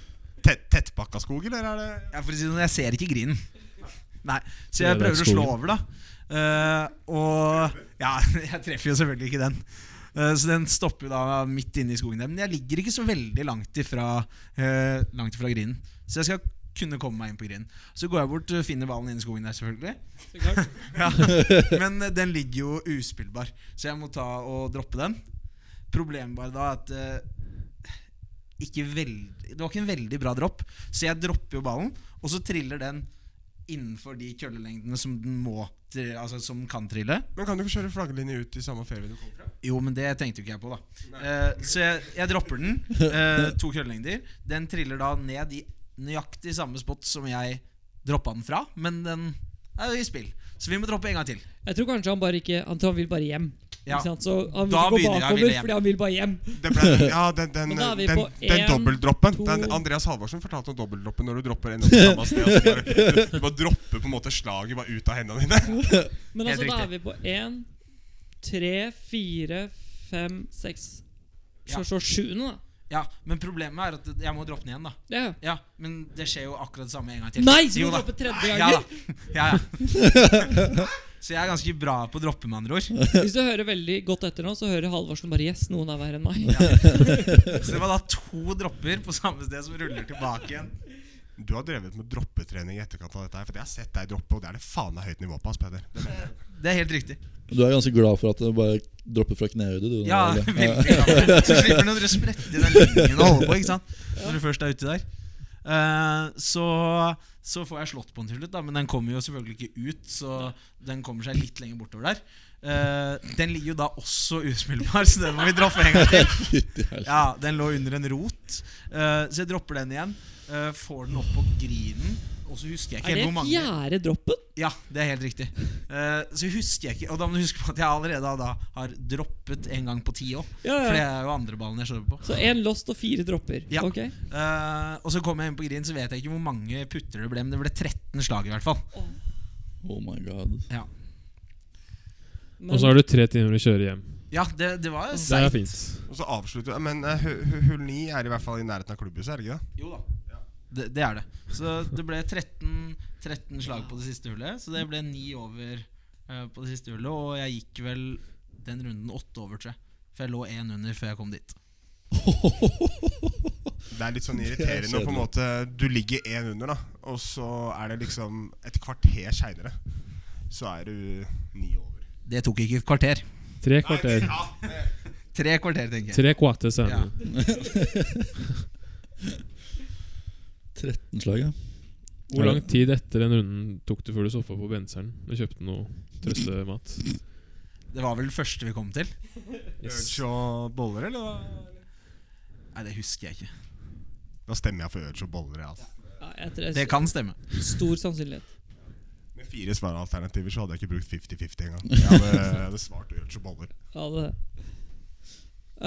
B: Tett, tettpakka skog, eller er det
E: Ja, for å si det sånn, jeg ser ikke grinen. Nei, Så
C: Det
E: jeg
C: er
E: prøver å slå
C: skogen.
E: over, da. Eh, og Ja, jeg treffer jo selvfølgelig ikke den. Eh, så den stopper jo da midt inne i skogen der. Men jeg ligger ikke så veldig langt ifra, eh, langt ifra grinen. Så jeg skal kunne komme meg inn på grinen. Så går jeg bort og finner ballen inne i skogen der, selvfølgelig.
A: Så klart.
E: Ja. Men eh, den ligger jo uspillbar, så jeg må ta og droppe den. Problemet bare da er at eh, ikke veld, Det var ikke en veldig bra dropp, så jeg dropper jo ballen, og så triller den innenfor de kjølelengdene som den må tri- Altså som den kan trille.
B: Men kan du ikke kjøre flagglinje ut i samme fairway du kom fra?
E: Jo, men det tenkte jo ikke jeg på, da. Eh, så jeg, jeg dropper den. eh, to kjølelengder. Den triller da ned i nøyaktig samme spot som jeg droppa den fra, men den er jo i spill. Så vi må droppe en gang til.
A: Jeg tror kanskje han bare ikke Han tror han vil bare hjem.
E: Ja.
A: Ikke sant? Så han vil
E: Da
A: ikke gå
E: begynner jeg å ville
A: bakover
E: hjem.
A: fordi han vil bare hjem.
B: Det ble, ja, den,
A: Men
B: den, den,
A: da er vi
B: den,
A: på en,
B: dobbeltdroppen.
A: to-
B: Den, Andreas Halvorsen fortalte om dobbeltdroppen når du dropper en opp på samme sted. og så Bare, du, du bare dropper på en måte slaget bare ut av hendene dine.
A: Men
E: Helt
A: altså, da
E: riktig.
A: er vi på én, tre, fire, fem, seks
E: Ja.
A: Så så sjuende, da.
E: Ja, men problemet er at jeg må droppe den igjen, da.
A: Ja.
E: Ja, Men det skjer jo akkurat det samme en gang til.
A: Nei, så
E: Jo
A: må du
E: da.
A: droppe tredje
E: Ja da.
A: gangen!
E: Ja, ja. Så jeg er ganske bra på å droppe, med andre ord.
A: Hvis du hører veldig godt etter nå, så hører Halvorsen bare 'yes, noen er verre enn meg'.
E: Så det var da to dropper på samme sted som ruller tilbake igjen.
B: Du har drevet med droppetrening i etterkant av dette her. For jeg har sett deg droppe, og det er det faen meg høyt nivå på. ass, Peder. Det mener jeg.
E: Det er helt riktig.
D: Du er ganske glad for at det bare dropper fra knehøyde, du.
E: Ja,
D: Ole.
E: veldig bra. Så slipper du å sprette i den linjen og holde på, ikke sant. Når du først er uti der. Eh, så, så får jeg slått på den til slutt, da, men den kommer jo selvfølgelig ikke ut. Så den kommer seg litt lenger bortover der. Eh, den ligger jo da også uspillbar, så den må vi droppe en gang til.
D: Fytti helsike.
E: Ja, den lå under en rot. Eh, så jeg dropper den igjen. eh, får den opp på grinen. Og så husker jeg ikke
A: Er det
E: helt hvor mange
A: fjerde droppen?
E: Ja, det er helt riktig. Eh, så husker jeg ikke Og da må du huske på at jeg allerede da har droppet en gang på ti òg.
A: Ja,
E: For det
A: ja.
E: er jo andre ballen jeg slår på.
A: Så én lost og fire dropper.
E: Ja.
A: Ok
E: Eh, og så kommer jeg inn på grinen, så vet jeg ikke hvor mange putter det ble, men det ble 13 slag i hvert fall.
D: Oh my god.
E: Ja,
A: Men,
C: Og så har du tre timer å kjøre hjem.
E: ja det, det var
C: Det er
E: seigt.
C: fint.
B: Og så avslutter jeg, Men eh, hu- hu- hull 9 er i hvert fall i nærheten av klubbhuset, er det ikke det?
E: Jo da. Det, det er det. Så det ble 13, 13 slag på det siste hullet. Så det ble ni over eh, på det siste hullet. Og jeg gikk vel den runden åtte over, tror jeg. For jeg lå én under før jeg kom dit.
B: Det er litt sånn
D: Det er
B: irriterende på en måte Du ligger én under, da, og så er det liksom et kvarter seinere. Så er du ni over.
E: Det tok ikke et kvarter.
C: Tre kvarter.
E: Tre kvarter, tenker jeg.
C: Tre kvarter senere.
D: 13 slag, ja.
C: Hvor lang tid etter den runden tok du før du stoppa på benseren og kjøpte noe trøstemat?
E: Det var vel det første vi kom til?
B: Urge og boller, eller? hva?
E: Nei, det husker jeg ikke.
B: Da stemmer jeg for Urge og boller. jeg, Altså.
A: Ja, jeg tror
E: Det
A: jeg,
E: kan stemme.
A: stor sannsynlighet.
B: Med fire svaralternativer så hadde jeg ikke brukt 50-50 engang. Jeg hadde, jeg hadde svart Urge og boller.
A: Ja, det.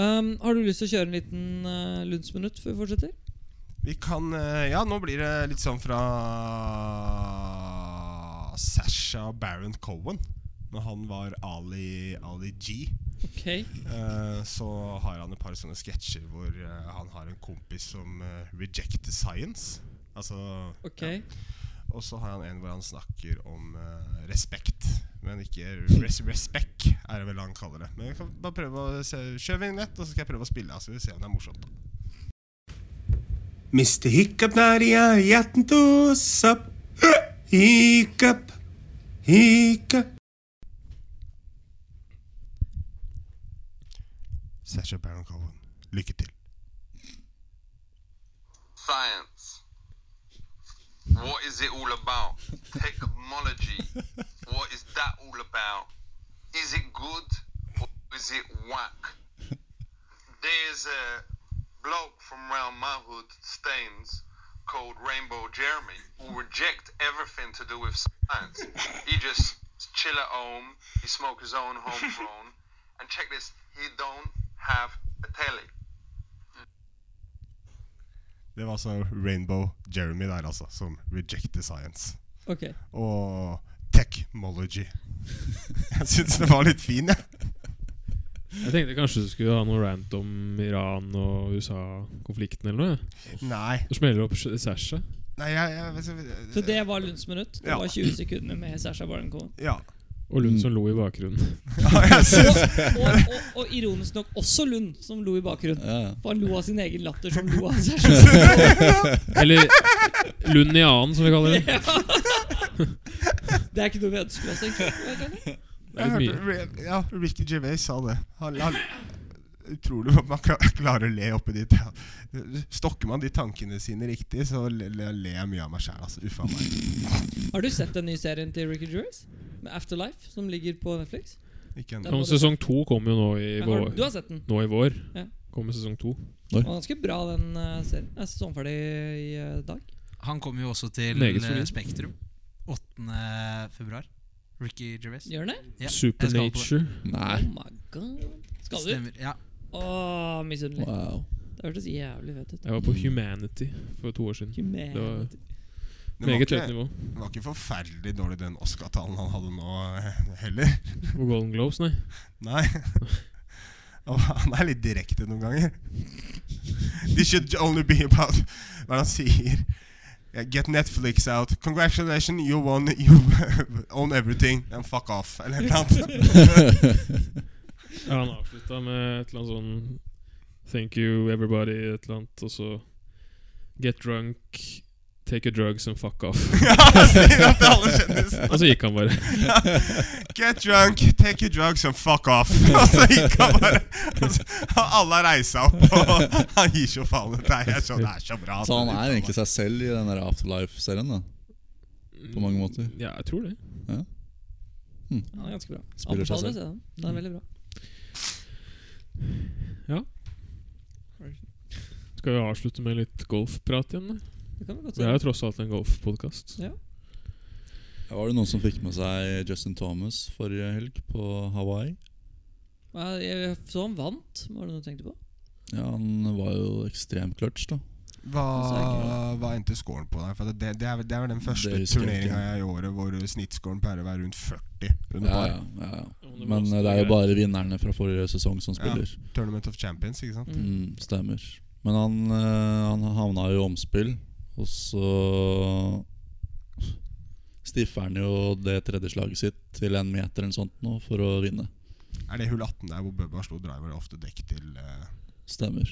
A: Um, har du lyst til å kjøre en liten uh, lunsjminutt før vi fortsetter?
B: Vi kan eh, Ja, nå blir det litt sånn fra Sasha Baron Cohen. Når han var Ali, Ali G,
A: Ok
B: eh, så har han et par sånne sketsjer hvor eh, han har en kompis som eh, rejecter science. Altså
A: Ok
B: ja. Og så har han en hvor han snakker om eh, respekt. Men ikke res respect, er det vel han kaller det. Men vi kan bare prøve å se, kjøre vignett, og så skal jeg prøve å spille av. Så vi ser om det er morsomt. da.
G: Mr. Hiccup Nadia, hjerten to sopp. Hiccup, hiccup.
B: Sasha Baron Cohen, lykke til.
H: Science. What is it all about? Technology. What is that all about? Is it good or is it whack? There's a bloke from round my hood, Staines, called Rainbow Jeremy, who reject everything to do with science. He just chill at home, he smoke his own homegrown, and check this, he don't have a telly.
B: Det var altså Rainbow Jeremy der, altså, som rejecter science.
A: Ok
B: Og technology. Jeg syns det var litt fin, jeg.
C: Jeg tenkte kanskje du skulle ha noe rant om Iran og USA-konflikten eller noe. ja.
B: Nei.
C: Du smeller opp Sasha.
B: Nei, jeg, jeg, altså, jeg,
A: Så det var lunsjminutt? Det
B: Ja.
A: var 20 sekunder med Sasha Baron Cohen.
B: Ja.
C: Og
E: Mm.
C: Lund som lo i bakgrunnen.
B: ja jeg synes,
A: Og, og, og ironisk nok også Lund, som lo i bakgrunnen.
D: ja.
A: For han lo av sin egen latter, som lo av Sasha. Baron Cohen.
C: Eller Lund i annen, som vi kaller det.
A: Det er ikke noe vi ønsker oss, egentlig. vet du det?
C: Det er
B: jeg
C: litt
B: hørte, Ra- ja, Ricky Gervais sa det. Han, han, utrolig at man kla- klarer å le oppi de ta- Stokker man de tankene sine riktig, så le- le- ler jeg mye av meg sjæl. Altså. Uffa meg.
A: Har du sett den nye serien til Ricky Gervais? Med Afterlife, som ligger på Netflix?
B: Ikke
A: Den
B: ennå.
A: må
C: Om
A: du-
C: sesong to kommer jo nå i
A: Ja, har,
C: vår.
A: du har sett den?
C: Nå i vår
A: Ja.
C: kommer sesong to.
A: Den var ganske bra, den eh, serien. Jeg er sesongferdig i eh, dag.
E: Han kommer jo også til
C: Meget solid.
E: eh, Spektrum 8. februar. Ricky Gervais.
A: Gjør den det?
E: Ja, jeg skal på det.
C: Supernature.
D: Nei.
A: Oh my god. Skal du?
E: Stemmer. Ja.
A: Åh, misunnelig.
D: Wow.
A: Det hørtes jævlig fett ut.
C: Jeg var på Humanity for to år siden.
A: Humanity.
C: Det var
B: Den var,
C: meget
B: ikke,
C: høyt nivå.
B: den var ikke forferdelig dårlig, den Oscar-talen han hadde nå eh, heller.
C: På Golden Globes, nei.
B: Nei. Og Han er litt direkte noen ganger. This should only be about Hva er det han sier? Yeah, Get Netflix out. Congratulations, you won You own everything. And fuck off. Eller noe annet.
C: Ja, han avslutta med et eller annet sånn Thank you, everybody, et eller annet, og så Get drunk, take a drug, and fuck off.
B: Ja, han sier at alle kjennes
C: Og så gikk han bare.
B: Get drunk, take your drugs and fuck off. Og så gikk han bare og så- Og alle reisa opp, og han gir så faen. Det er så, det er så bra.
D: Så han er egentlig seg selv i den der Afterlife-serien, da. På mange måter.
C: Ja, jeg tror det.
A: Den er ganske bra.
D: Hm. Spiller seg
A: Anbefaler å
D: selv.
A: se den. Den er veldig bra.
C: Skal vi avslutte med litt golfprat igjen? da?
A: Det kan vi godt
C: Det er
A: se.
C: jo tross alt en golfpodkast.
D: Var det noen som fikk med seg Justin Thomas forrige helg på Hawaii?
A: Ja, jeg så han vant, var det noe du tenkte på?
D: Ja, han var jo ekstremt clutch, da.
B: Hva, hva endte scoren på der? For det, det, er, vel- det er vel den første
D: Det husker jeg
B: turneringa
D: ikke.
B: jeg i året hvor snittscoren pleier å være rundt 40 under
D: Ja,
B: par.
D: ja, ja, ja. Men eh, det er jo bare vinnerne fra forrige sesong som spiller.
B: Tournament of Champions, ikke sant?
A: Mm.
D: Mm, stemmer. Men han, eh, han havna jo i omspill, og så stiffer han jo det tredje slaget sitt til en meter eller sånt nå for å vinne.
B: Er det hull 18 der hvor Bubba slo driver ofte dekk til eh,
D: Stemmer.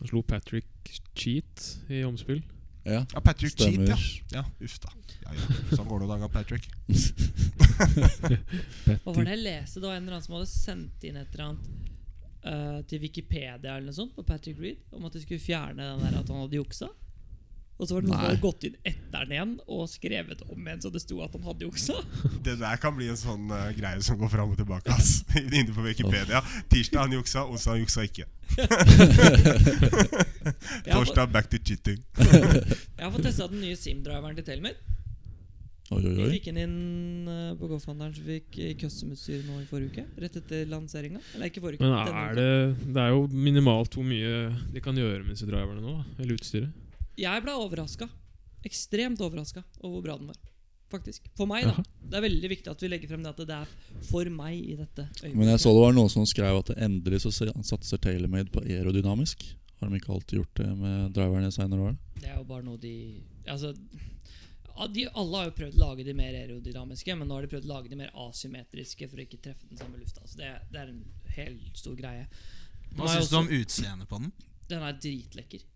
C: Han slo Patrick Cheat i omspill.
D: Ja,
B: Ja, Patrick Cheat,
D: stemmer.
B: ja. ja. Uff da. Ja, ja. Sånn går det noen dager, Patrick.
A: Hva var det jeg leste? Det var en eller annen som hadde sendt inn et eller annet eh, til Wikipedia eller noe sånt på Patrick Reed om at de skulle fjerne den der at han hadde juksa. Og så var det noen som
D: Nei.
A: hadde gått inn etter den igjen og skrevet om igjen så det sto at han hadde juksa.
B: Det der kan bli en sånn eh, greie som går fram og tilbake. ass Inne på Wikipedia. Tirsdag han juksa, onsdag han juksa ikke.
A: Jeg har, fått,
B: Torsdag back to cheating.
A: jeg har fått testa den nye SIM-driveren til Telmer.
D: Oi, oi,
A: Vi
D: oi.
A: fikk den inn eh, på Golfhandelen som fikk i custom-utstyr nå i forrige uke. Rett etter lanseringa. Eller ikke forrige uke.
C: Men
A: denne
C: er
A: uka.
C: det Det er jo minimalt hvor mye de kan gjøre med disse driverne nå, da, eller utstyret.
A: Jeg ble overraska. Ekstremt overraska over hvor bra den var. Faktisk. For meg, da.
C: Jaha.
A: Det er veldig viktig at vi legger frem det at det er for meg i dette øyeblikket.
D: Men jeg så det var noen som skrev at det endelig så se- satser TaylorMade på aerodynamisk. Har de ikke alltid gjort det med driverne i senere år?
A: Det er jo bare noe de Altså ja, de, Alle har jo prøvd å lage de mer aerodynamiske, men nå har de prøvd å lage de mer asymmetriske for å ikke treffe den samme lufta. Så det, det er en helt stor greie. Den
E: Hva
A: er jo
E: syns du
A: også-
E: om utseendet på den?
A: Den er dritlekker.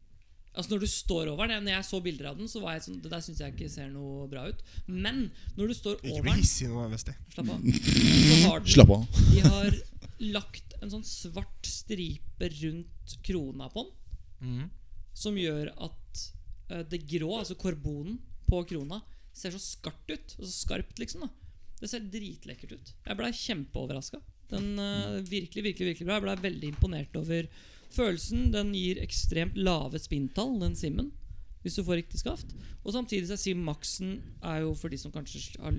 A: Altså Når du står over den Når jeg så bilder av den, så var jeg sånn Det der syns jeg ikke ser noe bra ut. Men når du står
B: Ikke
A: over
B: bli
A: den
B: hissig nå, Vesti.
A: Slapp av. Så har den
D: Slapp av.
A: De har lagt en sånn svart stripe rundt krona på den,
E: Mhm.
A: som gjør at eh, det grå, altså karbonen på krona, ser så skarpt ut. Og så skarpt, liksom. da Det ser dritlekkert ut. Jeg blei kjempeoverraska. Den eh, virkelig, virkelig, virkelig bra. Jeg blei veldig imponert over følelsen. Den gir ekstremt lave spinntall, den simmen. Hvis du får riktig skaft. Og samtidig så er sim maxen er jo for de som kanskje har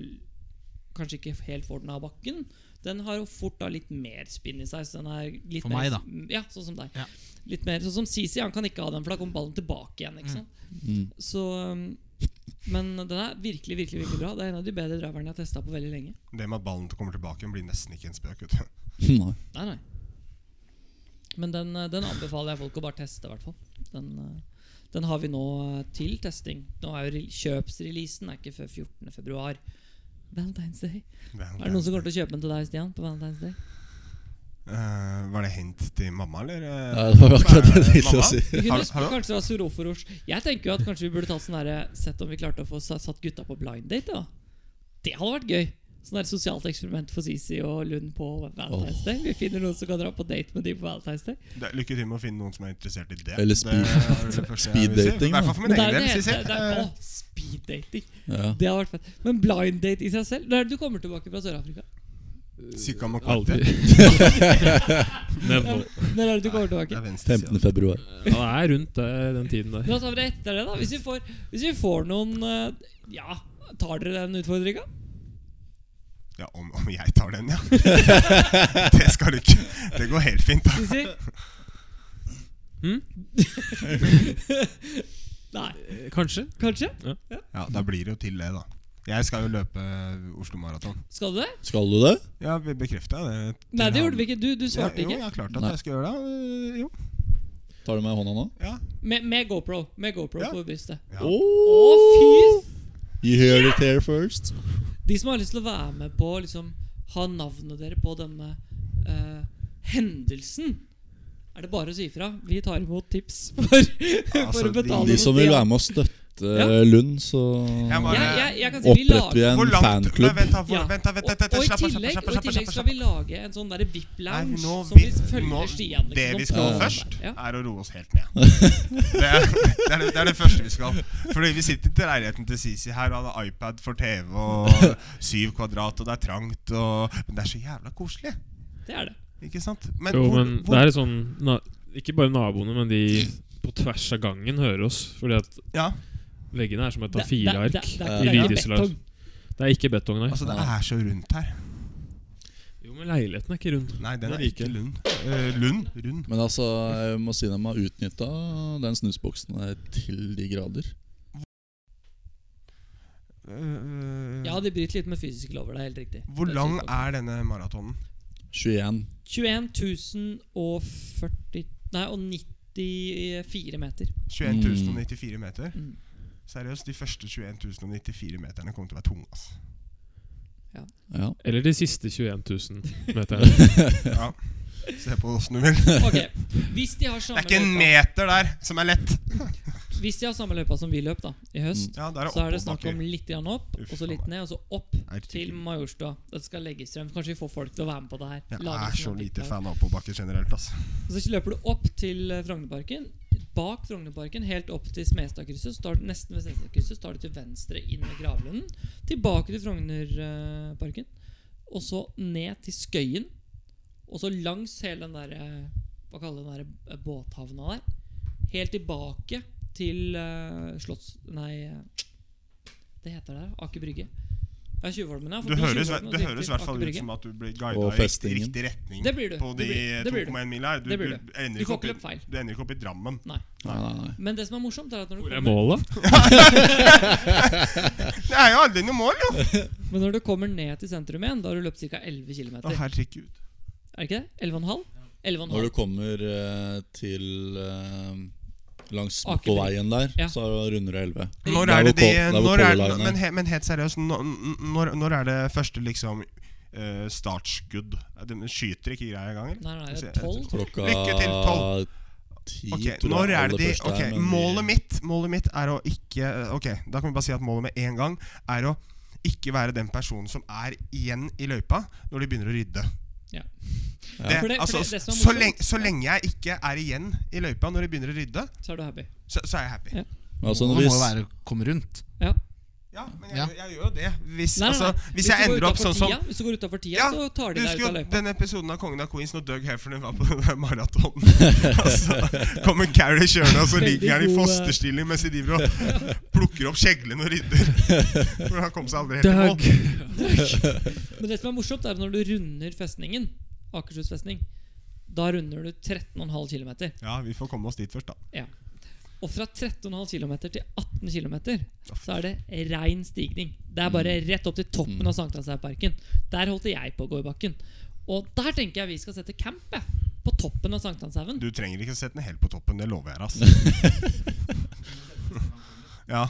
A: kanskje ikke helt får den av bakken. Den har jo fort da litt mer spinn i seg. Så den er litt
E: For
A: mer,
E: meg, da.
A: Ja, sånn som deg.
E: Ja.
A: Litt mer Sånn som Sisi, han kan ikke ha den, for da kommer ballen tilbake igjen. Ikke sant?
D: Mm.
A: Så um, Men den er virkelig, virkelig virkelig bra. Det er en av de bedre driverne jeg har testa på veldig lenge.
B: Det med at ballen kommer tilbake igjen, blir nesten ikke en spøk. vet du.
D: Nei.
A: Nei, nei. Men den, eh, den anbefaler jeg folk å bare teste, i hvert fall. Den, eh, den har vi nå eh, til testing. Nå er jo re- Kjøpsreleasen er ikke før 14.2. Valentine's Day. Er det noen som kommer til å kjøpe den til deg, Stian? På Valentine's Day?
B: Eh, var det hint til mamma, eller? eh?
D: Ja, det var akkurat det jeg tenkte å
B: Mamma?
D: si.
A: Vi
B: Har
A: kunne
B: du- har
A: spurt
B: du-
A: kanskje det var Soroforos. Jeg tenker jo at kanskje vi burde tatt sånn derre Sett om vi klarte å få sa- satt gutta på blind date, da. Det hadde vært gøy. Sånn der sosialt eksperiment for Sisi og Lund på Valentine's Day. Vi finner noen som kan dra på date med de på Valentine's Day.
B: Det- Lykke til med å finne noen som er interessert i det.
D: Eller
B: Det er det første jeg vil si.
D: speeddating,
B: I hvert fall for min
A: Men det er
B: egen
A: jo
B: del.
A: det
B: Sissy.
A: eneste. Det er,
B: Eh,
A: å, speed dating.
D: Ja.
A: Det hadde vært fett. Men blind date i seg selv Når er det du kommer tilbake fra Sør-Afrika?
B: Sikka må
C: Aldri.
B: kvante.
C: Never.
A: Når er det du kommer
B: Det er
A: tilbake?
B: venstre side.
D: 15. februar.
C: Ja, det er rundt det, den tiden der.
A: Da tar vi det etter det, da. Hvis vi får, hvis vi får noen eh, Ja, tar dere den utfordringa?
B: Ja, om, om jeg tar den, ja. det skal du ikke. Det går helt fint. da
A: Sissy?
C: Hm?
A: Nei.
C: Eh, Kanskje.
A: Kanskje?
B: Ja, Da blir det jo til det, da. Jeg skal jo løpe Oslo Maraton.
A: Skal du det?
D: Skal du det?
B: Ja, vi bekrefta det. til
A: Nei, det
B: han.
A: gjorde vi ikke. Du, du svarte
B: ja, Jo,
A: ikke.
B: jeg har klart at
D: Nei.
B: jeg skal gjøre det. øh, Jo.
D: Tar du meg i hånda nå?
B: Ja.
A: Med, med GoPro Med GoPro
B: Ja.
A: på brystet.
B: Ja.
A: Å, fy!
D: You heard it here first.
A: De som har lyst til å være med på å liksom, ha navnet dere på denne eh, hendelsen, er det bare å si ifra. Vi tar imot tips for, for
B: Altså,
A: å
B: de-
A: betale.
D: De
A: noe
D: som vil
A: sted.
D: være med og støtte eh,
A: Ja.
D: Lund, så
B: Jeg bare-
A: jeg, jeg,
B: altså,
A: jeg kan si vi
D: oppretter vi
A: lager
D: en
B: Hvor langt
D: fanklubb.
B: Vent, da. Hvor,
A: Ja.
B: vent, da, vent, da, vent,
A: og,
B: da,
A: og,
B: slapp
A: i
B: av, slapp av,
A: tillegg,
B: slapp
A: og i
B: av, slapp av,
A: tillegg
B: slapp
A: skal
B: av.
A: vi lage en sånn der
B: Nei,
A: VIP-lounge
B: nå
A: som vi
B: vil-
A: følger
B: nå-
A: Stian.
B: Det vi skal
D: Ja.
B: gjøre først,
A: Ja.
B: er å roe oss helt ned. Det er det, er det, det er det første vi skal. Fordi vi sitter til leiligheten til Sisi her, og har iPad for TV og syv kvadrat, og det er trangt, og Men det er så jævla koselig.
A: Det er det.
B: Ikke sant? Men,
C: Jo,
B: hvor-
C: men
B: hvor-
C: det er sånn na Ikke bare naboene, men de på tvers av gangen hører oss. Fordi at
B: Ja,
C: veggene er som et
A: Det- det- det-
C: A4-ark.
A: det- det-
D: i
A: det er jo
C: videreslag.
A: betong.
C: Det er ikke betong, nei.
B: altså det er så rundt her.
C: Jo, men leiligheten er ikke rund.
B: Nei, den
C: Den
B: er
C: er
B: ikke
C: like.
B: lund. Eh, lund? Rund.
D: Men altså, jeg må si de har utnytta den snusboksen der til de grader.
B: Eh,
A: Ja, de bryter litt med fysiske lover. Det er helt riktig.
B: hvor lang er denne maratonen?
D: 21.
A: 21 040 Nei, og 94 meter.
C: Mm.
B: 21 094 meter?
A: Mm.
B: Seriøst, de første 21 094 meterne kommer til å være tunge. ass.
D: Ja.
C: Eller de siste 21 000 meterne.
B: Ja. Se på åssen du vil.
A: Ok, Hvis de har
B: Det
A: samme
B: er ikke en
A: løypa-
B: meter der som er lett.
A: Hvis de har samme løypa som vi løp da i høst,
B: Ja, der Mm. er
A: så er det
B: oppoverbakker.
A: snakk om litt grann opp,
B: Uff,
A: og så litt
B: faen
A: ned, og så opp
B: Er det
A: til
B: ikke-
A: Majorstua. Dette skal legges frem. Kanskje vi får folk til å være med på det her.
B: Jeg
A: Lage
B: er så
A: sånne
B: lite
A: tiltak.
B: fan av oppoverbakke generelt. ass
A: Og så løper du opp til eh, Frognerparken. Bak Frognerparken, helt opp til Smestadkrysset, så tar du nesten ved Smestadkrysset, så tar du til venstre inn ved Gravlunden. Tilbake til Frognerparken. Og så ned til Skøyen. Og så langs hele den derre Hva kaller du den derre eh, båthavna der? Helt tilbake til eh, Slotts... Nei, eh, det heter der Aker Brygge. Ja, Tjuvholmen, ja.
B: Du
A: forbi
B: høres,
A: Tjuvholmen og
B: du
A: så
B: høres i
A: til
B: hvert fall
A: Aker
B: ut
A: Brygge.
B: som at du blir guida
D: Og
B: i riktig,
D: festingen.
B: riktig retning
A: Det blir du.
B: på de
A: Det blir- det blir du.
B: 2,1 mila her. Du,
A: Det blir
B: du,
A: du.
B: ender
A: Du
B: ikke
A: får
B: opp i-
A: ikke løpt feil.
B: Du ender ikke opp i Drammen.
A: Nei.
D: Nei, nei, nei.
A: Men det som er morsomt, er at når du
C: Hvor er
A: kommer
C: målet?
B: Det er jo aldri noe mål, jo!
A: Men når du kommer ned til sentrum igjen, da har du løpt ca. 11 km.
B: Å, herregud.
A: Er det ikke det? 11,5? 11,5.
D: Når du kommer eh, til eh, langs
A: Aker
D: motorveien der,
A: Ja.
D: så runder du 11.
B: Når er
D: Der hvor
B: det de
D: Col- der hvor
B: når er,
D: Color Line er.
B: men, he, men helt seriøst, når, når, når er det første liksom eh, startskudd? De skyter ikke greia i gang? eller?
A: Nei, nei, det
B: Se,
A: er 12. tror jeg.
D: Klokka
B: Lykke til, tolv.
D: ti,
B: Ok,
D: tror jeg,
B: når er
D: aller
B: det de
D: første
B: Ok,
D: er, men
B: målet
D: vi-
B: mitt Målet mitt er å ikke Ok, da kan vi bare si at målet med en gang Er å ikke være den personen som er igjen i løypa Når de begynner å rydde
A: Ja.
B: det,
A: For det- for
B: altså,
A: det- det som er
B: så,
A: morsomt-
B: lenge, så lenge jeg ikke er igjen i løypa Når de begynner å rydde
A: Så er du happy.
B: Så, så er jeg happy
A: Ja.
B: Ja,
D: Men altså,
E: det må jo
D: hvis-
E: være å komme rundt.
B: men
E: Ja.
B: jeg, jeg gjør jo det Hvis,
A: Nei, nei, nei.
B: Altså, hvis
A: du
B: jeg
A: går
B: ender opp
A: utenfor
B: sånn som
A: tida, Hvis du går utafor tida,
B: Ja,
A: så tar de
B: du
A: deg
B: husker
A: ut
B: jo
A: av løypa.
B: den episoden av Kongen av Queens når Doug Heffernan var på den der maratonen. Og så kommer Gary kjørende, og så ligger han i
A: Veldig god, eh.
B: fosterstilling mens de driver og plukker opp kjeglen og rydder. For han kom seg aldri helt i mål.
C: Dag!
A: Men det som er morsomt, er at når du runder festningen, Akershus festning, da runder du 13,5 km.
B: Ja, vi får komme oss dit først, da.
A: Ja. Og fra 13,5 km til 18 km så er det rein stigning. Det er bare
B: Mm.
A: rett opp til toppen av Sankthansheidparken. Der holdt jeg på å gå i bakken. Og der tenker jeg vi skal sette camp. jeg. På toppen av Sankthanshaugen.
B: Du trenger ikke sette den helt på toppen, det lover jeg deg, ass. Ja,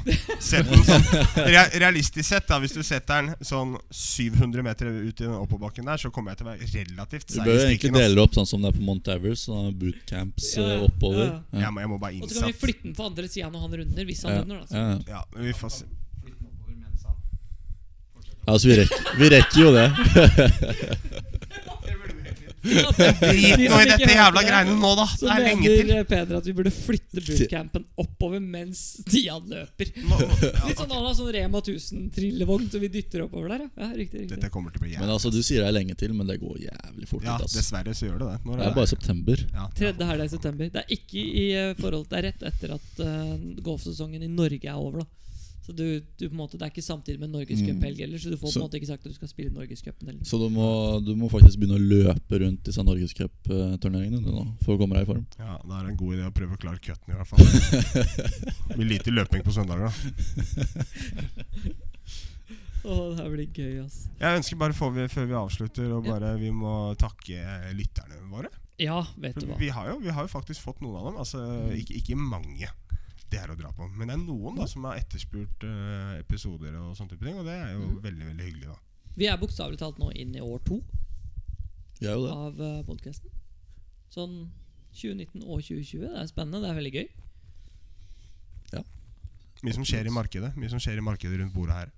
B: sett den sånn rea- Realistisk sett, da hvis du setter den sånn 700 meter ut i den oppoverbakken der, så kommer jeg til å være relativt
D: Vi
B: seig i
D: bør jo egentlig
B: stikken. ass.
D: dele opp sånn som det er på Mount Everest. Sånn bootcamps
A: Ja,
D: eh,
A: ja,
D: oppover.
A: ja,
D: Ja.
B: Jeg må, jeg må bare
A: Og så kan vi
B: innsatt.
A: flytte den på andre sida når han runder. Hvis han
D: Ja,
A: runder, da. Så.
D: ja.
B: Ja, vi får se.
D: Ja, Altså, vi rekker, vi rekker jo det.
B: Drit nå i dette jævla greiene nå, da!
A: Så
B: Det er lenge til.
A: mener Peder at vi burde flytte bootcampen oppover mens Stian løper.
B: Nå, ja,
A: Litt sånn à la sånn Rema 1000-trillevogn som vi dytter oppover der. Ja, ja riktig, riktig.
B: dette kommer til å bli
D: Men
B: jævlig.
D: altså, Du sier det er lenge til, men det går jævlig fort.
B: Ja,
D: ut, ass.
B: dessverre så gjør det det. Når
D: Det er bare sånn. september.
B: ja, ja.
A: Tredje helga i september. Det er ikke i eh, forhold Det er rett etter at eh, golfsesongen i Norge er over. da Så du, du på en måte Det er ikke samtidig med
D: Mm.
A: norgescuphelg heller, så du får på
D: Så-
A: en måte ikke sagt at du skal spille norgescupen. eller-
D: Så du må, du må faktisk begynne å løpe rundt disse norgescupturneringene du nå, for å komme deg i form.
B: ja, Da er det en god idé å prøve å klare cutten, i hvert fall. Det blir lite løping på søndager, da.
A: Åh, det her blir gøy, ass.
B: Jeg ønsker bare, får vi, før vi avslutter, og
A: Ja.
B: bare vi må takke lytterne våre.
A: Ja, vet du
B: For
A: hva.
B: vi, har jo, vi har jo faktisk fått noen av dem. Altså, ikke, ikke mange. Det er å dra på. Men det er noen da som har etterspurt eh, episoder og sånne type ting, og det er jo
A: Mm.
B: veldig veldig hyggelig. da
A: Vi er bokstavelig talt nå inn i år to
D: Vi er jo det.
A: av uh, podkasten. Sånn 2019 og 2020. Det er spennende. Det er veldig gøy.
B: Mye som skjer i markedet Mye som skjer i markedet rundt bordet her.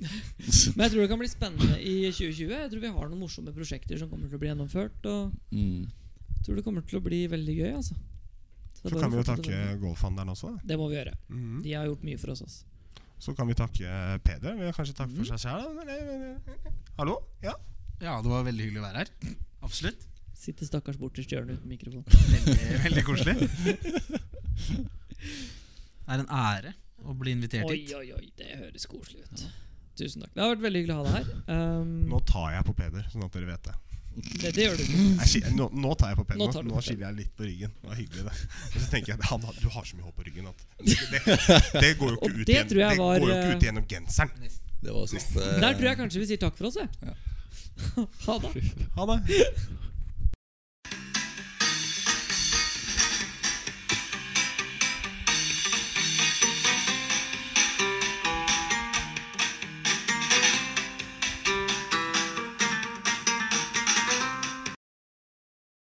A: Men jeg tror det kan bli spennende i 2020. Jeg tror vi har noen morsomme prosjekter som kommer til å bli gjennomført. Og
D: Mm.
A: jeg tror det kommer til å bli veldig gøy, altså. Så det er bare
B: Så kan vi
A: å
B: jo
A: fortsette
B: takke
A: å-
B: golfhandelen også. Da.
A: Det må vi gjøre.
B: Mhm.
A: De har gjort mye for oss, ass.
B: Så kan vi takke eh, Peder. Vi har kanskje takke
A: Mhm.
B: for seg sjæl. Hallo? Ja?
E: Ja, det var veldig hyggelig å være her. Absolutt.
A: Sitter stakkars borterst i hjørnet uten mikrofon.
E: Veldig, veldig koselig. Det er en ære å bli invitert
A: Oi,
E: hit.
A: oi, oi, det høres koselig ut. Tusen takk. Det har vært veldig hyggelig å ha deg her. Um,
B: Nå tar jeg på Peder, sånn at dere vet det.
A: det, det gjør du ikke.
B: Jeg, skil- nå, nå tar jeg på Peder.
A: Nå
B: Nå,
A: tar du
B: nå,
A: på
B: skiller jeg litt på ryggen. Det var hyggelig, det. Og så tenker jeg han, har- du har så mye hår på ryggen at Det, det går jo
A: Og
B: ikke ut
A: det
B: igjen-
A: tror jeg var,
B: det går jo
A: eh,
B: ikke ut gjennom genseren.
D: Det var siste
A: Der tror jeg kanskje vi sier takk for oss, jeg. Ha det.
B: Ha det.